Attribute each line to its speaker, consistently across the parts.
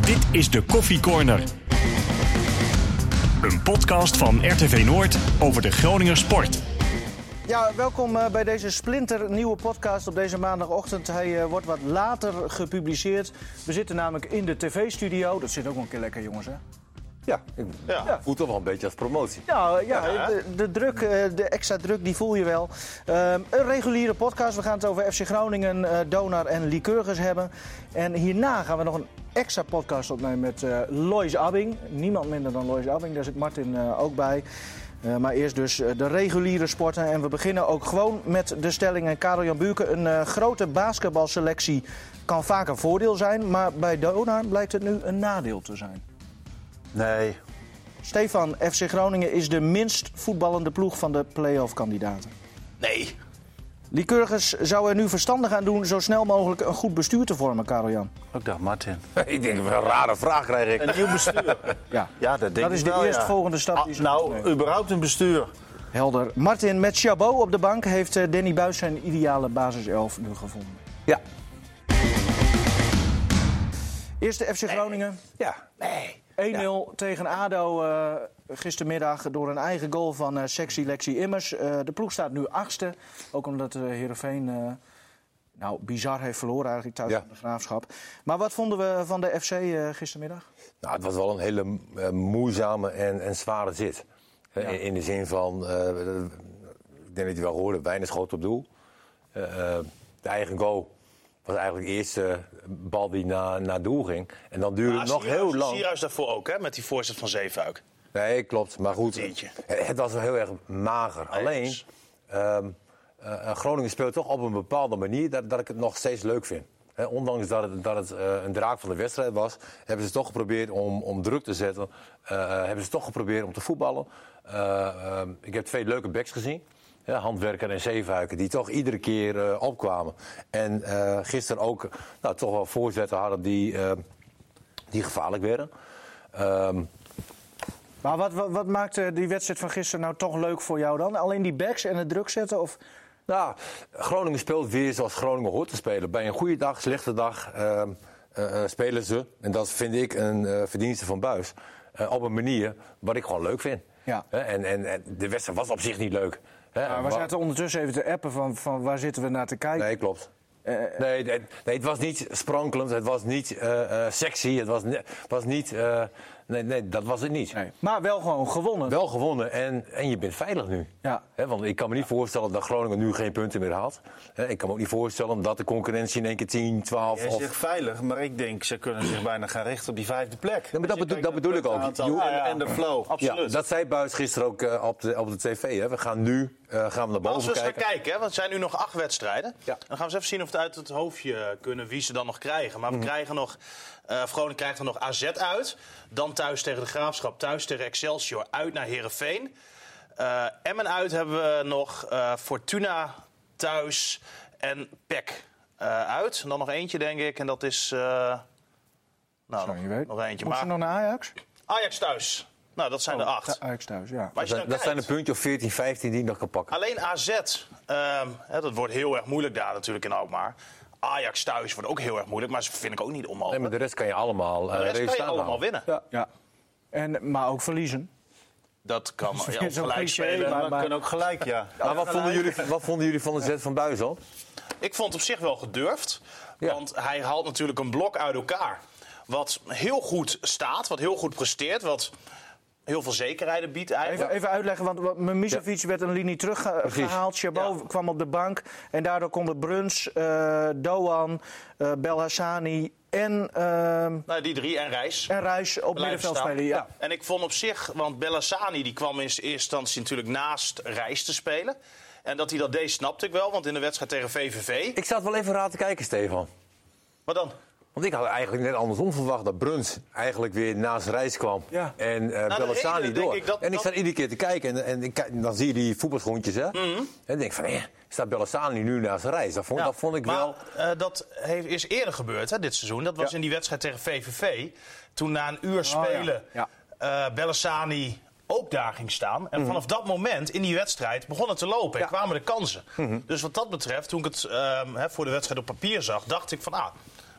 Speaker 1: Dit is de Koffie Corner. Een podcast van RTV Noord over de Groninger sport.
Speaker 2: Ja, welkom eh, bij deze splinternieuwe podcast op deze maandagochtend. Hij eh, wordt wat later gepubliceerd. We zitten namelijk in de tv-studio. Dat zit ook wel een keer lekker, jongens, hè?
Speaker 3: Ja, ik voelt toch wel een beetje als promotie.
Speaker 2: Nou ja, de, de druk, eh, de extra druk, die voel je wel. Ehm, een reguliere podcast. We gaan het over FC Groningen, eh Donar en Lycurgus hebben. En hierna gaan we nog een extra podcast opnemen met eh Lois Abbing. Niemand minder dan Lois Abbing, daar zit Martin eh, ook bij. Eh, maar eerst dus eh, de reguliere sporten. En we beginnen ook gewoon met de stelling. En Karel Jan Buurken, een eh, grote basketbalselectie kan vaak een voordeel zijn. Maar bij Donar blijkt het nu een nadeel te zijn.
Speaker 3: Nee,
Speaker 2: Stefan, FC Groningen is de minst voetballende ploeg van de play-off-kandidaten.
Speaker 3: nee.
Speaker 2: Lycurgus zou er nu verstandig aan doen zo snel mogelijk een goed bestuur te vormen, Karel-Jan.
Speaker 4: Ook dat, Martin.
Speaker 3: Ik denk, wat een rare vraag krijg ik.
Speaker 4: Een nieuw bestuur.
Speaker 2: Ja,
Speaker 4: Ja, dat denk
Speaker 2: dat is
Speaker 4: ik
Speaker 2: de
Speaker 4: wel, ja.
Speaker 2: eerstvolgende stap.
Speaker 4: Ah,
Speaker 2: Die ze moeten
Speaker 4: nou,
Speaker 2: nemen.
Speaker 4: überhaupt een bestuur.
Speaker 2: Helder. Martin, met Chabot op de bank heeft eh, Danny Buis zijn ideale basiself nu gevonden.
Speaker 3: Ja.
Speaker 2: Eerste FC Groningen,
Speaker 3: Ja. Nee.
Speaker 2: 1-0 tegen ADO eh, gistermiddag door een eigen goal van eh sexy Lexi Immers. Eh, de ploeg staat nu achtste, ook omdat eh Heerenveen eh, nou, bizar heeft verloren eigenlijk thuis
Speaker 5: Ja.
Speaker 2: van de Graafschap. Maar wat vonden we van de FC eh, gistermiddag?
Speaker 5: Nou, het was wel een hele eh, moeizame en, en zware zit. Eh, in, in de zin van, eh, ik denk dat je wel hoorde, weinig schoten op doel. Eh, eh, de eigen goal was eigenlijk de eerste bal die naar, naar doel ging. En dan duurde
Speaker 6: Nou,
Speaker 5: het nog heel lang.
Speaker 4: Sierhuis daarvoor ook, hè, met die voorzet van Zeefuik.
Speaker 5: Nee, klopt. Maar goed,
Speaker 4: Eentje.
Speaker 5: het, het was wel heel erg mager. Alleen,
Speaker 4: dus-
Speaker 5: ehm, eh, Groningen speelt toch op een bepaalde manier dat, dat ik het nog steeds leuk vind. Hè, ondanks dat het, dat het eh, een draak van de wedstrijd was, hebben ze toch geprobeerd om, om druk te zetten. Eh, hebben ze toch geprobeerd om te voetballen. Eh, ehm, ik heb twee leuke backs gezien. Ja, handwerker en zeefuiken, die toch iedere keer eh, opkwamen. En eh, gisteren ook nou, toch wel voorzetten hadden die, eh, die gevaarlijk werden. Ehm,
Speaker 2: Maar wat, wat, wat maakte die wedstrijd van gisteren nou toch leuk voor jou dan? Alleen die backs en het druk zetten? Of...
Speaker 5: Nou, Groningen speelt weer zoals Groningen hoort te spelen. Bij een goede dag, slechte dag ehm, eh, eh, spelen ze. En dat vind ik een eh, verdienste van Buis. eh, op een manier wat ik gewoon leuk vind.
Speaker 2: Ja.
Speaker 5: Hè, en, en, en de wedstrijd was op zich niet leuk. Hè,
Speaker 2: Maar we
Speaker 5: wa-
Speaker 2: zaten ondertussen even te appen van, van waar zitten we naar te kijken.
Speaker 5: Nee, klopt.
Speaker 2: Eh,
Speaker 5: nee, nee, nee, het was niet sprankelend, het was niet eh, eh, sexy, het was, ne- was niet... eh, nee, nee, dat was het niet.
Speaker 2: Nee. Maar wel gewoon gewonnen.
Speaker 5: Wel gewonnen en, en je bent veilig nu.
Speaker 2: Ja.
Speaker 5: Hè, want ik kan me niet voorstellen dat Groningen nu geen punten meer haalt. Hè, ik kan me ook niet voorstellen dat de concurrentie in één keer 10, 12
Speaker 4: Jij
Speaker 5: of...
Speaker 4: zegt veilig, maar ik denk ze kunnen zich bijna gaan richten op die vijfde plek.
Speaker 5: maar dat
Speaker 4: Als je
Speaker 5: bedoel-
Speaker 4: kijkt
Speaker 5: dat
Speaker 4: naar
Speaker 5: bedoel
Speaker 4: het
Speaker 5: ik ook.
Speaker 4: puntenaantal
Speaker 5: Je-
Speaker 4: En, en de flow,
Speaker 5: Ja,
Speaker 4: absoluut.
Speaker 5: dat zei Buis gisteren ook eh, op, de, op de tv. Hè. We gaan nu eh, gaan we naar
Speaker 6: Maar als
Speaker 5: boven
Speaker 6: we eens gaan
Speaker 5: kijken.
Speaker 6: kijken, hè, want er zijn nu nog acht wedstrijden.
Speaker 5: Ja.
Speaker 6: Dan gaan we eens even zien of we het uit het hoofdje kunnen wie ze dan nog krijgen. Maar we
Speaker 5: Mhm.
Speaker 6: krijgen nog, eh Groningen krijgt er nog AZ uit. Dan thuis tegen de Graafschap, thuis tegen Excelsior, uit naar Herenveen. Eh Emmen uit hebben we nog eh, Fortuna thuis en PEC eh, uit. En dan nog eentje, denk ik. En dat is... eh, nou,
Speaker 2: Zo, je
Speaker 6: nog,
Speaker 2: weet.
Speaker 6: nog eentje.
Speaker 2: Moet
Speaker 6: Maar
Speaker 2: ze nog naar Ajax?
Speaker 6: Ajax thuis. Nou, dat zijn de acht. Maar
Speaker 2: Ajax thuis, ja.
Speaker 6: als
Speaker 5: Oh, Dat
Speaker 6: je
Speaker 5: zijn,
Speaker 6: dan
Speaker 5: dat zijn
Speaker 6: kijkt-
Speaker 5: een puntje of 14, 15 die ik nog kan pakken.
Speaker 6: Alleen AZ, ehm, hè, dat wordt heel erg moeilijk daar natuurlijk in Alkmaar. Ajax thuis wordt ook heel erg moeilijk, maar ze vind ik ook niet
Speaker 5: Nee,
Speaker 6: onmogelijk.
Speaker 5: maar de rest kan je allemaal eh
Speaker 6: de rest kan je
Speaker 5: resultaten
Speaker 6: allemaal
Speaker 5: halen.
Speaker 6: winnen.
Speaker 2: Ja. En, maar ook verliezen.
Speaker 6: Dat kan ja,
Speaker 2: weer
Speaker 6: of
Speaker 2: zo'n
Speaker 6: gelijk
Speaker 2: cliché,
Speaker 6: spelen.
Speaker 2: maar-
Speaker 4: Maar we kunnen ook gelijk, ja.
Speaker 5: Maar wat vonden, jullie, wat vonden jullie van de zet van Buis al?
Speaker 6: Ik vond het op zich wel gedurfd,
Speaker 5: Ja.
Speaker 6: want hij haalt natuurlijk een blok uit elkaar. Wat heel goed staat, wat heel goed presteert, wat heel veel zekerheden biedt
Speaker 2: Even,
Speaker 6: eigenlijk.
Speaker 2: even uitleggen, want- want Mimicevic werd een linie teruggehaald. Chabot kwam op de bank. En daardoor konden Bruns, eh, Doan, eh Belhassani en, ehm
Speaker 6: Nou, die drie en Reis.
Speaker 2: en Ruijs op
Speaker 6: Blijven
Speaker 2: middenveld
Speaker 6: staan.
Speaker 2: spelen. Ja.
Speaker 6: En ik vond op zich, want Bellassani die kwam in eerste instantie natuurlijk naast Reis te spelen. En dat hij dat deed snapte ik wel, want in de wedstrijd tegen VVV...
Speaker 5: Ik zat wel even raar te kijken, Stefan.
Speaker 6: Maar dan?
Speaker 5: Want ik had eigenlijk net andersom verwacht dat Bruns eigenlijk weer naast Reis kwam.
Speaker 2: Ja.
Speaker 5: En eh
Speaker 6: Nou, de
Speaker 5: Bellassani
Speaker 6: reden, denk
Speaker 5: door.
Speaker 6: ik, dat-
Speaker 5: en ik
Speaker 6: dat- Mhm.
Speaker 5: zat iedere keer te kijken en, en ik kijk- dan zie je die voetbalschoentjes. Hè? En ik denk van, eh, staat Bellassani nu naast Reis? Dat vond, dat vond ik
Speaker 6: maar,
Speaker 5: wel...
Speaker 6: eh, dat heeft, is eerder gebeurd hè, dit seizoen. Dat was in die wedstrijd tegen VVV. Toen na een
Speaker 5: Oh,
Speaker 6: uur spelen
Speaker 2: ja.
Speaker 6: eh, Bellassani ook daar ging staan.
Speaker 5: Mhm.
Speaker 6: En vanaf dat moment in die wedstrijd begon het te lopen. En
Speaker 5: Mhm.
Speaker 6: kwamen de kansen. Dus wat dat betreft, toen ik het ehm, hè, voor de wedstrijd op papier zag, dacht ik van... Ah,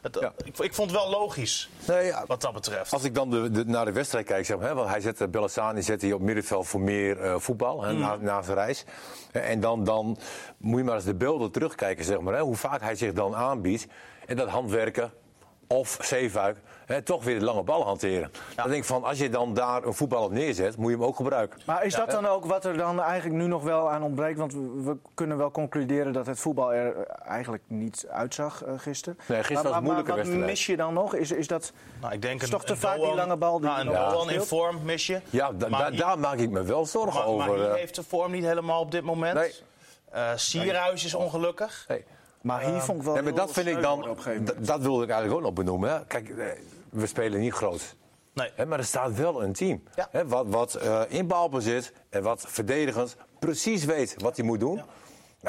Speaker 6: Het,
Speaker 5: Ja.
Speaker 6: ik, ik vond het wel logisch,
Speaker 5: Nee, ja,
Speaker 6: wat dat betreft.
Speaker 5: Als ik dan de, de- naar de wedstrijd kijk, zeg maar, hè, want hij zette Bellassani zette hij op middenveld voor meer eh, voetbal hè, na, na zijn reis. Eh, En dan, dan moet je maar eens de beelden terugkijken, zeg maar, hè, hoe vaak hij zich dan aanbiedt. En dat handwerken of zeefuik, hè, toch weer de lange bal hanteren. Dan denk ik van, als je dan daar een voetbal op neerzet, moet je hem ook gebruiken.
Speaker 2: Maar is dat dan ook wat er dan eigenlijk nu nog wel aan ontbreekt? Want we, we kunnen wel concluderen dat het voetbal er eh, eigenlijk niet uitzag eh, gisteren.
Speaker 5: Nee, gisteren
Speaker 2: maar,
Speaker 5: was een
Speaker 2: maar-
Speaker 5: moeilijke
Speaker 2: maar Wat
Speaker 5: wedstrijd.
Speaker 2: mis je dan nog? Is, is dat...
Speaker 6: nou, ik denk
Speaker 2: is
Speaker 6: een-
Speaker 2: toch te
Speaker 6: een
Speaker 2: vaak die
Speaker 6: Doan-
Speaker 2: lange bal die
Speaker 6: nou,
Speaker 2: je
Speaker 6: een
Speaker 2: nog
Speaker 6: Doan in
Speaker 2: speelt?
Speaker 6: vorm mis je.
Speaker 5: Ja, da-
Speaker 6: Maar
Speaker 5: da-
Speaker 6: i-
Speaker 5: daar maak ik me wel zorgen
Speaker 6: maar, maar
Speaker 5: over.
Speaker 6: die
Speaker 5: eh.
Speaker 6: heeft de vorm niet helemaal op dit moment. Eh
Speaker 5: Nee.
Speaker 6: Sierhuis is ongelukkig.
Speaker 5: Nee.
Speaker 2: Maar hier vond ik wel...
Speaker 5: Ehm, Nee, maar dat
Speaker 2: heel
Speaker 5: vind ik
Speaker 2: sneu
Speaker 5: dan,
Speaker 2: worden op een gegeven
Speaker 5: d- dat wilde ik eigenlijk ook nog benoemen. Hè. Kijk, eh, we spelen niet groot.
Speaker 6: Nee.
Speaker 5: Hè, maar er staat wel een team.
Speaker 6: Ja.
Speaker 5: Hè, wat wat eh, in balbezit en wat verdedigend precies weet wat hij moet doen. Nou,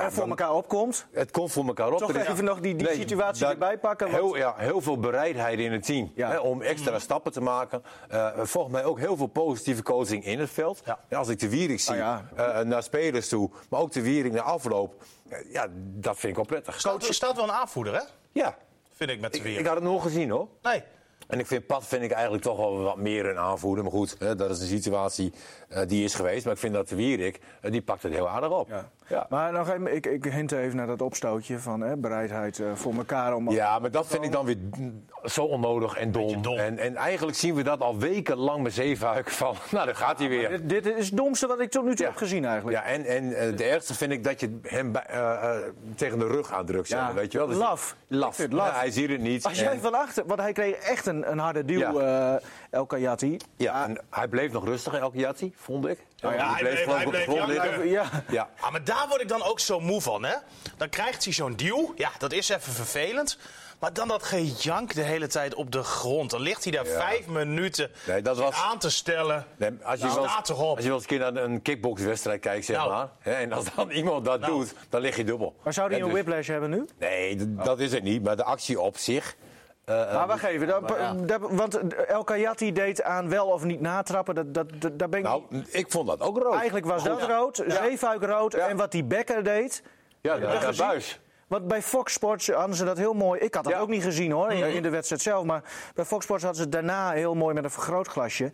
Speaker 2: moment. En voor
Speaker 5: dan-
Speaker 2: elkaar opkomt.
Speaker 5: Het komt voor elkaar op.
Speaker 2: Toch
Speaker 5: Er is-
Speaker 2: even nog die- die situatie
Speaker 5: dat-
Speaker 2: erbij pakken, want-
Speaker 5: Heel, ja, heel veel bereidheid in het team
Speaker 2: Ja. Mm.
Speaker 5: hè, om extra stappen te maken. Eh, volgens mij ook heel veel positieve coaching in het veld.
Speaker 6: Ja.
Speaker 5: En als ik de Wierik zie,
Speaker 2: Ah,
Speaker 5: eh, naar spelers toe, maar ook de Wierik naar afloop. eh, ja, dat vind ik wel prettig.
Speaker 6: Coach staat, Oh, staat wel een aanvoerder, hè?
Speaker 5: Ja,
Speaker 6: Vind ik met de
Speaker 5: ik,
Speaker 6: weer.
Speaker 5: ik had het nog gezien hoor.
Speaker 6: Nee.
Speaker 5: En ik vind Pat vind ik eigenlijk toch wel wat meer een aanvoerder. Maar goed, hè, dat is een situatie eh, die is geweest. Maar ik vind dat de Wierik, eh, die pakt het heel aardig op. Ja, ja.
Speaker 2: Maar nog even, ik, ik hint even naar dat opstootje van hè, bereidheid eh, voor elkaar om...
Speaker 5: maar dat vind ik dan weer mm, zo onnodig en dom.
Speaker 6: dom.
Speaker 5: En, en eigenlijk zien we dat al wekenlang met Zeefuik van... Nou, daar gaat hij weer.
Speaker 2: Dit, dit is het domste wat ik tot nu toe
Speaker 5: Ja.
Speaker 2: heb gezien eigenlijk.
Speaker 5: Ja, en, en eh, de ergste vind ik dat je hem bij- eh, eh, tegen de rug aandrukt. zeg
Speaker 2: Ja.
Speaker 5: maar, Weet je wel? Dat is-
Speaker 2: Laf. Ik
Speaker 5: Laf.
Speaker 2: vind laf.
Speaker 5: Ja, hij ziet het niet.
Speaker 2: Als jij
Speaker 5: En-
Speaker 2: van achter... Want hij kreeg echt een, een harde duw,
Speaker 5: Ja.
Speaker 2: eh El Kayati.
Speaker 5: ja, en hij bleef nog rustig, Elke Jatti, vond ik.
Speaker 6: ja, hij bleef-
Speaker 5: gewoon
Speaker 6: hij
Speaker 5: op de
Speaker 6: bleef
Speaker 5: grond
Speaker 6: janken.
Speaker 5: liggen.
Speaker 2: Ja.
Speaker 5: Ja,
Speaker 6: Ah, maar daar word ik dan ook zo moe van, hè? Dan krijgt hij zo'n duw. Ja, dat is even vervelend. Maar dan dat gejank de hele tijd op de grond. Dan ligt hij daar
Speaker 5: Ja.
Speaker 6: vijf minuten
Speaker 5: Nee, dat
Speaker 6: zich
Speaker 5: was-
Speaker 6: aan te stellen.
Speaker 5: Nee, als, je
Speaker 6: Nou,
Speaker 5: wel
Speaker 6: staat
Speaker 5: eens,
Speaker 6: erop.
Speaker 5: als je wel eens een keer naar een kickboxwedstrijd kijkt, zeg
Speaker 6: Nou.
Speaker 5: maar. Hè, en als dan iemand dat
Speaker 6: Nou.
Speaker 5: doet, dan lig je dubbel.
Speaker 2: Maar zou die
Speaker 5: Hè,
Speaker 2: een
Speaker 5: dus-
Speaker 2: whiplash hebben nu?
Speaker 5: Nee, d- dat is het niet. Maar de actie op zich. eh,
Speaker 2: maar
Speaker 5: dus-
Speaker 2: wacht even, dat- dat- want El Kayati deed aan wel of niet natrappen. Dat, dat, dat- daar ben ik niet-
Speaker 5: Nou, ik vond dat ook rood.
Speaker 2: Eigenlijk was dat rood, zeefuik rood. En wat die Becker deed...
Speaker 5: Ja, dat
Speaker 2: dat
Speaker 5: is
Speaker 2: gezien-
Speaker 5: buis.
Speaker 2: Want bij Fox Sports hadden ze dat heel mooi. Ik had dat
Speaker 5: Ja.
Speaker 2: ook niet gezien hoor, in, in de wedstrijd zelf. Maar bij Fox Sports hadden ze het daarna heel mooi met een vergrootglasje.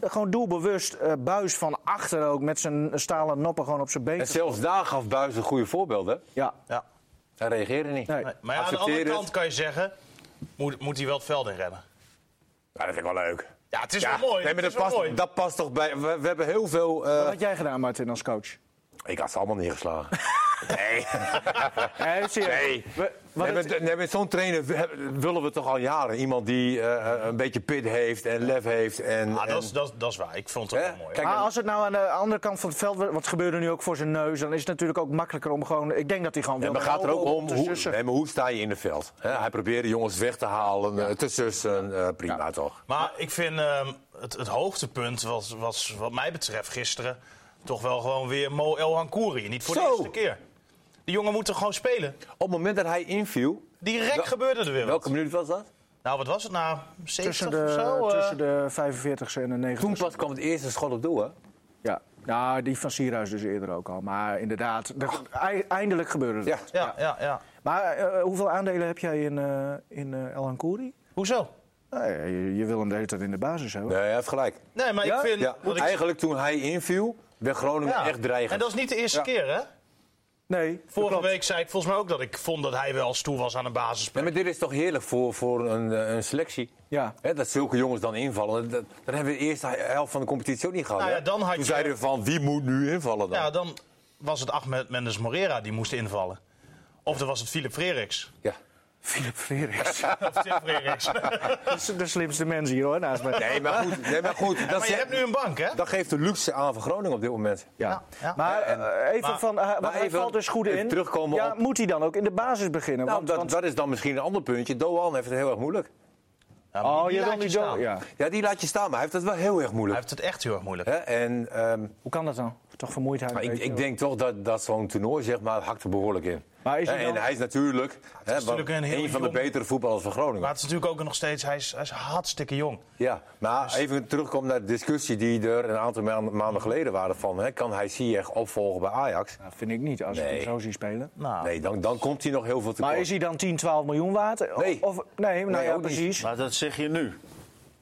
Speaker 2: eh, Gewoon doelbewust eh, buis van achter ook. Met zijn stalen noppen gewoon op zijn been.
Speaker 5: En zelfs daar gaf buis een goede voorbeeld. Hè?
Speaker 2: Ja.
Speaker 6: Ja.
Speaker 5: Hij reageerde niet.
Speaker 2: Nee.
Speaker 6: Nee, Maar ja, aan de
Speaker 5: Accepteer
Speaker 6: andere
Speaker 5: het.
Speaker 6: kant kan je zeggen... Moet, moet hij wel het veld in rennen.
Speaker 5: Ja, dat vind ik wel leuk.
Speaker 6: Ja, het is wel mooi.
Speaker 5: Nee, maar dat,
Speaker 6: het is wel
Speaker 5: past,
Speaker 6: mooi.
Speaker 5: dat past toch bij. We, we hebben heel veel. eh,
Speaker 2: Wat had jij gedaan, Martin, als coach?
Speaker 5: Ik had ze allemaal neergeslagen. nee.
Speaker 2: Nee, serieus.
Speaker 5: Nee.
Speaker 2: We- wat
Speaker 5: Nee,
Speaker 2: het-
Speaker 5: met, nee, met zo'n trainer we- hebben- willen we toch al jaren. Iemand die eh, een beetje pit heeft en lef heeft. En,
Speaker 6: Ah,
Speaker 5: en-
Speaker 6: dat, is, dat, is- dat is waar. Ik vond het
Speaker 5: Hè?
Speaker 6: wel mooi.
Speaker 5: Kijk,
Speaker 2: Maar
Speaker 5: en-
Speaker 2: als het nou aan de andere kant van het veld, wat wat gebeurde nu ook voor zijn neus, dan is het natuurlijk ook makkelijker om gewoon. Ik denk dat hij gewoon.
Speaker 5: Ja, maar
Speaker 2: wilde
Speaker 5: gaat er ook
Speaker 2: helpen
Speaker 5: om
Speaker 2: te
Speaker 5: hoe,
Speaker 2: sussen.
Speaker 5: nee, maar hoe sta je in het veld? Hè, hij probeerde jongens weg te halen, eh, te sussen. eh, prima toch?
Speaker 6: Maar ik vind ehm, het, het hoogtepunt was, was wat mij betreft gisteren toch wel gewoon weer Mo El Hankouri. Niet voor de
Speaker 5: Zo.
Speaker 6: eerste keer. Die jongen moet er gewoon spelen.
Speaker 5: Op het moment dat hij inviel,
Speaker 6: Direct
Speaker 5: Wel-
Speaker 6: gebeurde er weer wat.
Speaker 5: welke minuut was dat?
Speaker 6: Nou, wat was het nou? 70
Speaker 2: Tussen
Speaker 6: of
Speaker 2: de,
Speaker 6: zo? eh?
Speaker 2: tussen de 45ste en de 90ste.
Speaker 5: Toen pas kwam het eerste schot op doel, hè?
Speaker 2: Ja, nou, die van Sierhuis dus eerder ook al. Maar inderdaad, er- ei- eindelijk gebeurde het.
Speaker 5: Oh. Ja.
Speaker 6: Ja, ja, ja.
Speaker 2: Maar eh, hoeveel aandelen heb jij in, eh in eh, El Hankouri?
Speaker 6: Hoezo?
Speaker 2: Nou, ja, je, je wil hem de hele tijd in de basis hebben.
Speaker 5: Nee, hij heeft gelijk.
Speaker 6: Nee, maar ik vind...
Speaker 5: Ja,
Speaker 6: dat ik-
Speaker 5: eigenlijk toen hij inviel, werd Groningen
Speaker 6: ja.
Speaker 5: echt dreigend.
Speaker 6: En dat is niet de eerste keer, hè?
Speaker 2: Nee, dat
Speaker 6: Vorige
Speaker 2: klopt.
Speaker 6: week zei ik volgens mij ook dat ik vond dat hij wel stoel was aan een basisplek.
Speaker 5: Nee, maar dit is toch heerlijk voor, voor een, eh, een selectie?
Speaker 2: Ja.
Speaker 5: Hè, dat zulke jongens dan invallen. Dat, dat hebben we de eerste helft van de competitie ook niet gehad.
Speaker 6: Nou ja,
Speaker 5: hè?
Speaker 6: dan had
Speaker 5: toen
Speaker 6: je-
Speaker 5: zeiden we van, wie moet nu invallen dan?
Speaker 6: Ja, dan was het Ahmed Mendes Morera die moest invallen. Of dan was het Philip Freriks.
Speaker 5: Ja.
Speaker 2: Philip Frerichs.
Speaker 6: Of Tim Freriks.
Speaker 2: dat is de slimste mens hier hoor, naast mij.
Speaker 5: Nee, maar goed. Nee, maar goed dat,
Speaker 6: maar je
Speaker 5: ze-
Speaker 6: hebt nu een bank,
Speaker 2: Oh,
Speaker 6: hè?
Speaker 5: dat geeft de luxe aan van Groningen op dit moment.
Speaker 2: Ja.
Speaker 6: Ja.
Speaker 2: Maar eh, even
Speaker 6: maar-
Speaker 2: van, eh, want hij
Speaker 5: even-
Speaker 2: valt dus goed
Speaker 5: even
Speaker 2: in.
Speaker 5: terugkomen
Speaker 2: ja,
Speaker 5: op-
Speaker 2: moet hij dan ook in de basis beginnen?
Speaker 5: Nou,
Speaker 2: Want-
Speaker 5: dat,
Speaker 2: want-
Speaker 5: dat is dan misschien een ander puntje. Doan heeft het heel erg moeilijk.
Speaker 6: Ja, maar
Speaker 2: oh,
Speaker 6: die
Speaker 2: je
Speaker 6: laat
Speaker 2: wil niet
Speaker 6: staan.
Speaker 2: zo. Ja.
Speaker 5: Ja, die laat je staan, maar hij heeft het wel heel erg
Speaker 6: Hij
Speaker 5: moeilijk.
Speaker 6: heeft het echt heel erg moeilijk.
Speaker 5: Hè, en ehm,
Speaker 2: Hoe kan dat dan? toch vermoeidheid.
Speaker 5: Maar ik,
Speaker 2: weet je
Speaker 5: ik
Speaker 2: wel.
Speaker 5: denk toch dat, dat zo'n toernooi zeg maar, hakt er behoorlijk in.
Speaker 2: Maar is het
Speaker 5: en
Speaker 2: dan-
Speaker 5: hij is natuurlijk, hè, wat-
Speaker 6: natuurlijk een heel
Speaker 5: van de
Speaker 6: jong-
Speaker 5: betere voetballers van Groningen.
Speaker 6: Maar het is natuurlijk ook nog steeds, hij is, hij is hartstikke jong.
Speaker 5: Ja,
Speaker 4: Dus-
Speaker 5: maar even terugkomen naar de discussie die er een aantal ma- maanden geleden waren van... Hè, kan hij Ziyech opvolgen bij Ajax?
Speaker 2: Nou, vind ik niet, als ik
Speaker 5: Nee.
Speaker 2: hem zo zie spelen.
Speaker 4: Ah.
Speaker 6: Nou,
Speaker 5: Nee, dan, dan komt hij nog heel veel tekort.
Speaker 2: Maar is hij dan 10, 12 miljoen waard? O-
Speaker 5: Nee.
Speaker 2: Of, nee, nou
Speaker 5: Nee,
Speaker 2: ja,
Speaker 5: ook niet.
Speaker 2: precies.
Speaker 4: Maar dat zeg je nu.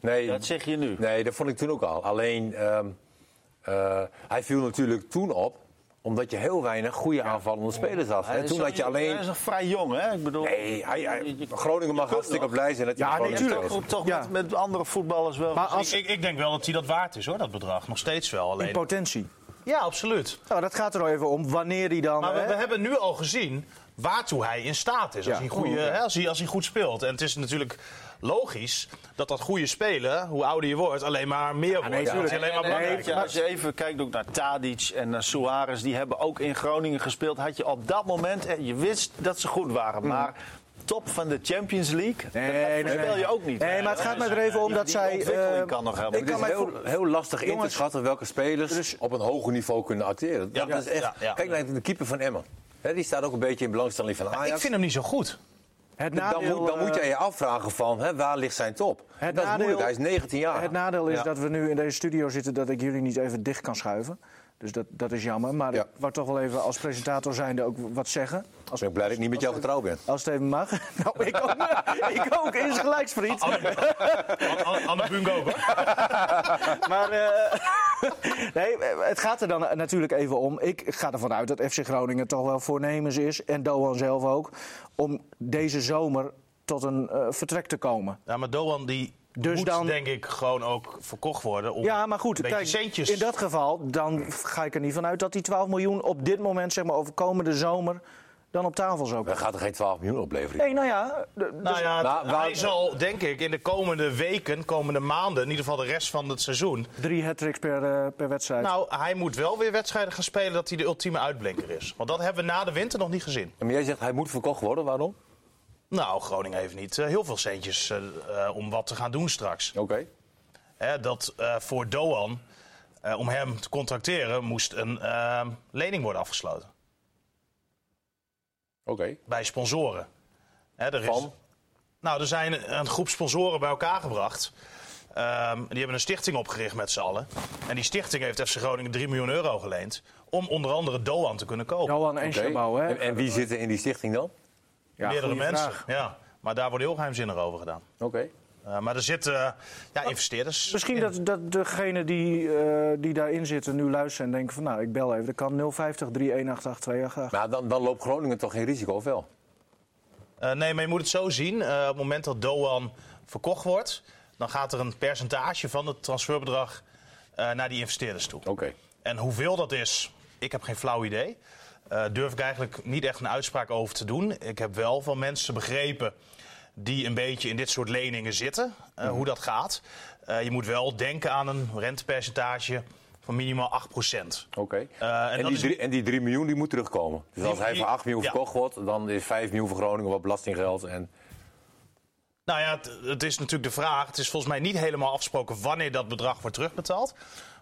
Speaker 5: nee,
Speaker 4: Dat zeg je nu.
Speaker 5: nee, dat vond ik toen ook al. Alleen, ehm, eh, hij viel natuurlijk toen op omdat je heel weinig goede aanvallende spelers had.
Speaker 4: Hij
Speaker 5: En
Speaker 4: is
Speaker 5: toen
Speaker 4: zo-
Speaker 5: had je alleen...
Speaker 4: Hij is nog vrij jong, hè? Ik bedoel...
Speaker 5: Nee, hij, hij-
Speaker 4: Je- je-
Speaker 5: Groningen mag hartstikke blij zijn dat hij
Speaker 4: Ja,
Speaker 5: Groningen
Speaker 4: natuurlijk.
Speaker 5: speelt.
Speaker 4: Ook toch
Speaker 2: Ja.
Speaker 4: met, met andere voetballers wel.
Speaker 2: Maar als,
Speaker 6: ik, ik, ik denk wel dat hij dat waard is hoor, dat bedrag. Nog steeds wel.
Speaker 2: in
Speaker 6: Alleen.
Speaker 2: potentie.
Speaker 6: Ja, absoluut.
Speaker 2: Nou, dat gaat er nou even om wanneer hij dan...
Speaker 6: Maar we,
Speaker 2: hè?
Speaker 6: we hebben nu al gezien waartoe hij in staat is. Als,
Speaker 2: Ja.
Speaker 6: hij goede,
Speaker 2: Oh, ja.
Speaker 6: hè, als, hij, als hij goed speelt. En het is natuurlijk logisch dat dat goede spelen, hoe ouder je wordt, alleen maar meer wordt.
Speaker 2: nee,
Speaker 6: Dat is
Speaker 2: tuurlijk.
Speaker 6: alleen maar
Speaker 2: Nee, nee,
Speaker 6: belangrijk.
Speaker 4: Kijk, als je even kijkt ook naar Tadic en naar Suarez, die hebben ook in Groningen gespeeld. Had je op dat moment, eh, je wist dat ze goed waren, maar top van de Champions League,
Speaker 2: Mm. nee,
Speaker 4: dat speel je
Speaker 2: nee.
Speaker 4: ook niet.
Speaker 2: Nee, maar het gaat mij er even om
Speaker 4: Die-
Speaker 2: dat
Speaker 4: die
Speaker 2: zij,
Speaker 4: ontwikkeling
Speaker 2: eh,
Speaker 4: kan nog helemaal.
Speaker 5: Het
Speaker 4: niet.
Speaker 5: is
Speaker 2: mij
Speaker 5: heel, heel lastig in
Speaker 2: Jongens, dus-
Speaker 5: te schatten welke spelers op een hoger niveau kunnen acteren. Dat
Speaker 6: Ja,
Speaker 5: is echt,
Speaker 6: ja, ja.
Speaker 5: Kijk naar de keeper van Emmen. Hè, die staat ook een beetje in belangstelling van Ajax.
Speaker 6: Ik vind hem niet zo goed.
Speaker 2: het
Speaker 5: dan, moet, dan
Speaker 2: eh,
Speaker 5: moet je je afvragen van, hè, waar ligt zijn top? dat
Speaker 2: nadeel-
Speaker 5: is moeilijk, hij is 19 jaar.
Speaker 2: eh, Het nadeel is dat we nu in deze studio zitten dat ik jullie niet even dicht kan schuiven. Dus dat, dat is jammer. Maar
Speaker 5: Ja.
Speaker 2: ik wou toch wel even als presentator zijnde ook wat zeggen.
Speaker 5: Dus Ik ben blij dat ik niet met jou getrouwd ben.
Speaker 2: Als het even mag. Nou, ik ook. ik ook. Is gelijks, vriend.
Speaker 5: Oh,
Speaker 6: An- An- Anne Bunk ook hoor.
Speaker 2: Maar eh, nee, het gaat er dan natuurlijk even om. Ik ga ervan uit dat FC Groningen toch wel voornemens is, en Doan zelf ook, om deze zomer tot een eh, vertrek te komen.
Speaker 6: Ja, maar Doan die
Speaker 2: Dus
Speaker 6: moet
Speaker 2: dan-
Speaker 6: denk ik gewoon ook verkocht worden. Om
Speaker 2: Ja, maar goed,
Speaker 6: een beetje
Speaker 2: kijk,
Speaker 6: centjes.
Speaker 2: in dat geval dan ga ik er niet van uit dat die 12 miljoen op dit moment, zeg maar over komende zomer, dan op tafel zou
Speaker 5: Dat
Speaker 2: komen.
Speaker 5: gaat er geen 12 miljoen opleveren.
Speaker 2: Nee, nou ja, d-
Speaker 6: Nou ja, het-
Speaker 5: Nou, waar-
Speaker 6: hij zal denk ik in de komende weken, komende maanden, in ieder geval de rest van het seizoen.
Speaker 2: drie hat-tricks per, eh, per wedstrijd.
Speaker 6: Nou, hij moet wel weer wedstrijden gaan spelen dat hij de ultieme uitblinker is. Want dat hebben we na de winter nog niet gezien.
Speaker 5: Maar jij zegt, hij moet verkocht worden, waarom?
Speaker 6: Nou, Groningen heeft niet eh, heel veel centjes eh, eh, om wat te gaan doen straks.
Speaker 5: Oké.
Speaker 6: Hè, dat eh, voor Doan, eh, om hem te contracteren, moest een eh, lening worden afgesloten
Speaker 5: Oké.
Speaker 6: bij sponsoren. Hè, er is-
Speaker 5: Van?
Speaker 6: Nou, er zijn een groep sponsoren bij elkaar gebracht. Ehm, die hebben een stichting opgericht met z'n allen. En die stichting heeft FC Groningen 3 miljoen euro geleend. Om onder andere Doan te kunnen kopen.
Speaker 2: Doan en
Speaker 5: Oké.
Speaker 2: Chabot, hè?
Speaker 5: En, en wie zit er in die stichting dan?
Speaker 2: Ja,
Speaker 6: Meerdere
Speaker 2: goeie
Speaker 6: mensen.
Speaker 2: vraag.
Speaker 6: Ja. Maar daar wordt heel geheimzinnig over gedaan.
Speaker 5: Oké.
Speaker 6: Eh, maar er zitten eh, ja, investeerders.
Speaker 2: Misschien dat, dat degenen die, eh, die daarin zitten nu luisteren en denken van... nou, ik bel even, dat kan 050 3188288.
Speaker 5: Maar dan, dan loopt Groningen toch geen risico, of wel?
Speaker 6: Eh, nee, maar je moet het zo zien. Eh, op het moment dat Doan verkocht wordt, dan gaat er een percentage van het transferbedrag eh, naar die investeerders toe.
Speaker 5: Oké.
Speaker 6: En hoeveel dat is, ik heb geen flauw idee. Eh durf ik eigenlijk niet echt een uitspraak over te doen. Ik heb wel van mensen begrepen die een beetje in dit soort leningen zitten, eh, hoe dat gaat. Eh, je moet wel denken aan een rentepercentage van minimaal 8%.
Speaker 5: Oké.
Speaker 6: Eh, en
Speaker 5: en,
Speaker 6: dat
Speaker 5: die
Speaker 6: is-
Speaker 5: drie- en die 3 miljoen die moet terugkomen. Dus als hij
Speaker 6: die-
Speaker 5: voor 8 miljoen
Speaker 6: ja.
Speaker 5: verkocht wordt, dan is 5 miljoen voor Groningen wat belastinggeld. En,
Speaker 6: Nou ja, het, het is natuurlijk de vraag. Het is volgens mij niet helemaal afgesproken wanneer dat bedrag wordt terugbetaald.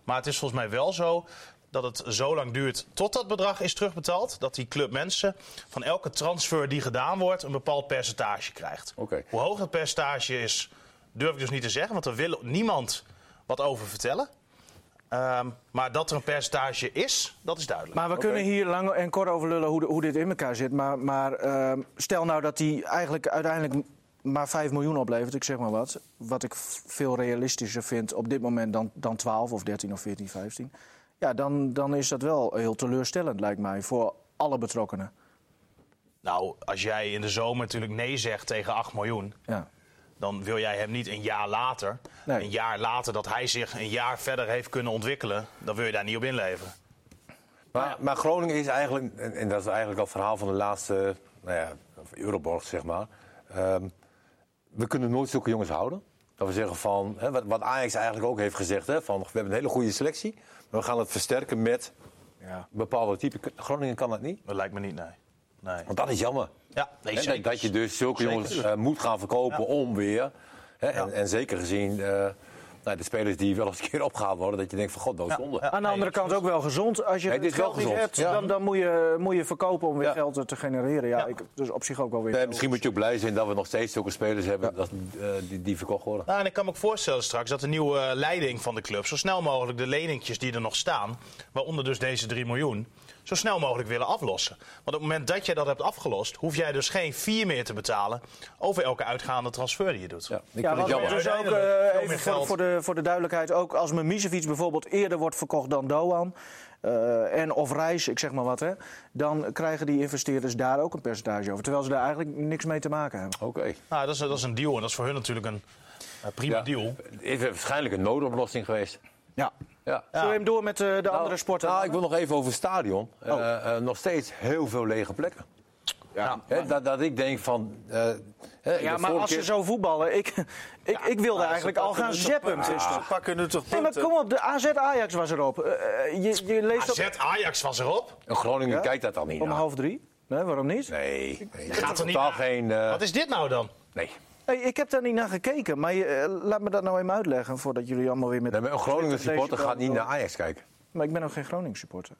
Speaker 6: Maar het is volgens mij wel zo dat het zo lang duurt tot dat bedrag is terugbetaald. Dat die club mensen van elke transfer die gedaan wordt een bepaald percentage krijgt.
Speaker 5: Oké.
Speaker 6: Hoe hoog dat percentage is, durf ik dus niet te zeggen. Want er wil niemand wat over vertellen. Ehm, maar dat er een percentage is, dat is duidelijk.
Speaker 2: Maar we kunnen hier lang en kort over lullen hoe, de- hoe dit in elkaar zit. Maar, maar ehm, stel nou dat die eigenlijk uiteindelijk maar 5 miljoen oplevert, ik zeg maar wat. Wat ik v- veel realistischer vind op dit moment dan, dan 12 of 13 of 14, 15. Ja, dan, dan is dat wel heel teleurstellend, lijkt mij, voor alle betrokkenen.
Speaker 6: Nou, als jij in de zomer natuurlijk nee zegt tegen 8 miljoen...
Speaker 2: Ja.
Speaker 6: dan wil jij hem niet een jaar later.
Speaker 2: Nee.
Speaker 6: Een jaar later dat hij zich een jaar verder heeft kunnen ontwikkelen, dan wil je daar niet op inleveren.
Speaker 5: maar, maar Groningen is eigenlijk, en, en dat is eigenlijk al het verhaal van de laatste nou ja, of Euroborg, zeg maar. Ehm, we kunnen nooit zulke jongens houden. Dat we zeggen van, hè, wat, wat Ajax eigenlijk ook heeft gezegd, hè, van we hebben een hele goede selectie. Maar we gaan het versterken met bepaalde typen. Groningen kan dat niet.
Speaker 6: Dat lijkt me niet, nee. nee.
Speaker 5: Want dat is jammer.
Speaker 6: Ja, nee,
Speaker 5: Hè,
Speaker 6: zeker.
Speaker 5: dat, dat je dus zulke
Speaker 6: Zeker.
Speaker 5: jongens eh, moet gaan verkopen om weer. Hè, en, en zeker gezien eh, nou, de spelers die wel eens een keer opgehaald worden, dat je denkt van god, dat is zonde.
Speaker 2: Aan de andere kant ook wel gezond. Als je
Speaker 5: Nee, dit
Speaker 2: het
Speaker 5: is wel
Speaker 2: geld niet
Speaker 5: gezond,
Speaker 2: hebt,
Speaker 5: ja.
Speaker 2: dan, dan moet, je, moet je verkopen om weer
Speaker 5: Ja.
Speaker 2: geld te genereren. Ja, Ik, dus op zich ook wel weer.
Speaker 5: Nee, Eh, misschien moet je ook blij zijn dat we nog steeds zulke spelers hebben dat, eh, die, die verkocht worden.
Speaker 6: Nou, en ik kan me ook voorstellen straks dat de nieuwe eh, leiding van de club zo snel mogelijk de leningjes die er nog staan, waaronder dus deze 3 miljoen, zo snel mogelijk willen aflossen. Want op het moment dat jij dat hebt afgelost, hoef jij dus geen 4 meer te betalen over elke uitgaande transfer die je doet.
Speaker 5: Ja, ik
Speaker 2: Ja,
Speaker 5: vind het
Speaker 2: want
Speaker 5: jammer.
Speaker 2: dus ook
Speaker 6: Uiteindelijk
Speaker 2: eh,
Speaker 6: veel meer
Speaker 2: even voor,
Speaker 6: geld.
Speaker 2: voor, de, voor de duidelijkheid, ook als Mimicevic bijvoorbeeld eerder wordt verkocht dan Doan eh, en of Reis, ik zeg maar wat, hè, dan krijgen die investeerders daar ook een percentage over, terwijl ze daar eigenlijk niks mee te maken hebben.
Speaker 5: Oké.
Speaker 6: Nou, dat is, dat is een deal en dat is voor hun natuurlijk een eh, prima
Speaker 5: Ja.
Speaker 6: deal.
Speaker 5: Het is waarschijnlijk een noodoplossing geweest.
Speaker 2: Ja.
Speaker 5: Ja.
Speaker 2: Zullen we hem door met eh, de
Speaker 5: Nou,
Speaker 2: andere sporten?
Speaker 5: Nou, ik wil nog even over het stadion. Eh, eh, nog steeds heel veel lege plekken.
Speaker 3: Ja.
Speaker 5: Hè, dat, dat ik denk van. eh, hè, de
Speaker 2: ja, maar
Speaker 5: vorige
Speaker 2: als ze
Speaker 5: keer-
Speaker 2: zo voetballen, ik, ik, ik wilde eigenlijk al gaan
Speaker 5: Ah.
Speaker 2: zappen.
Speaker 4: Ze pakken nu toch
Speaker 2: Nee, maar
Speaker 4: punten.
Speaker 2: kom op, de AZ Ajax was erop. Eh, eh, je, je leest op
Speaker 6: AZ Ajax was erop.
Speaker 5: Een Groningen kijkt dat dan niet.
Speaker 2: om
Speaker 5: naar.
Speaker 2: half drie. Nee, waarom niet?
Speaker 5: Nee, nee.
Speaker 6: Gaat er niet
Speaker 5: totaal
Speaker 6: naar.
Speaker 5: geen. eh,
Speaker 6: Wat is dit nou dan?
Speaker 5: nee.
Speaker 2: Hey, ik heb daar niet naar gekeken, maar je, eh, laat me dat nou even uitleggen voordat jullie allemaal weer met.
Speaker 5: Nee, maar een Groningen
Speaker 2: Deze
Speaker 5: supporter
Speaker 2: kant
Speaker 5: gaat niet
Speaker 2: wel.
Speaker 5: naar Ajax kijken.
Speaker 2: Maar ik ben ook geen Groningen supporter.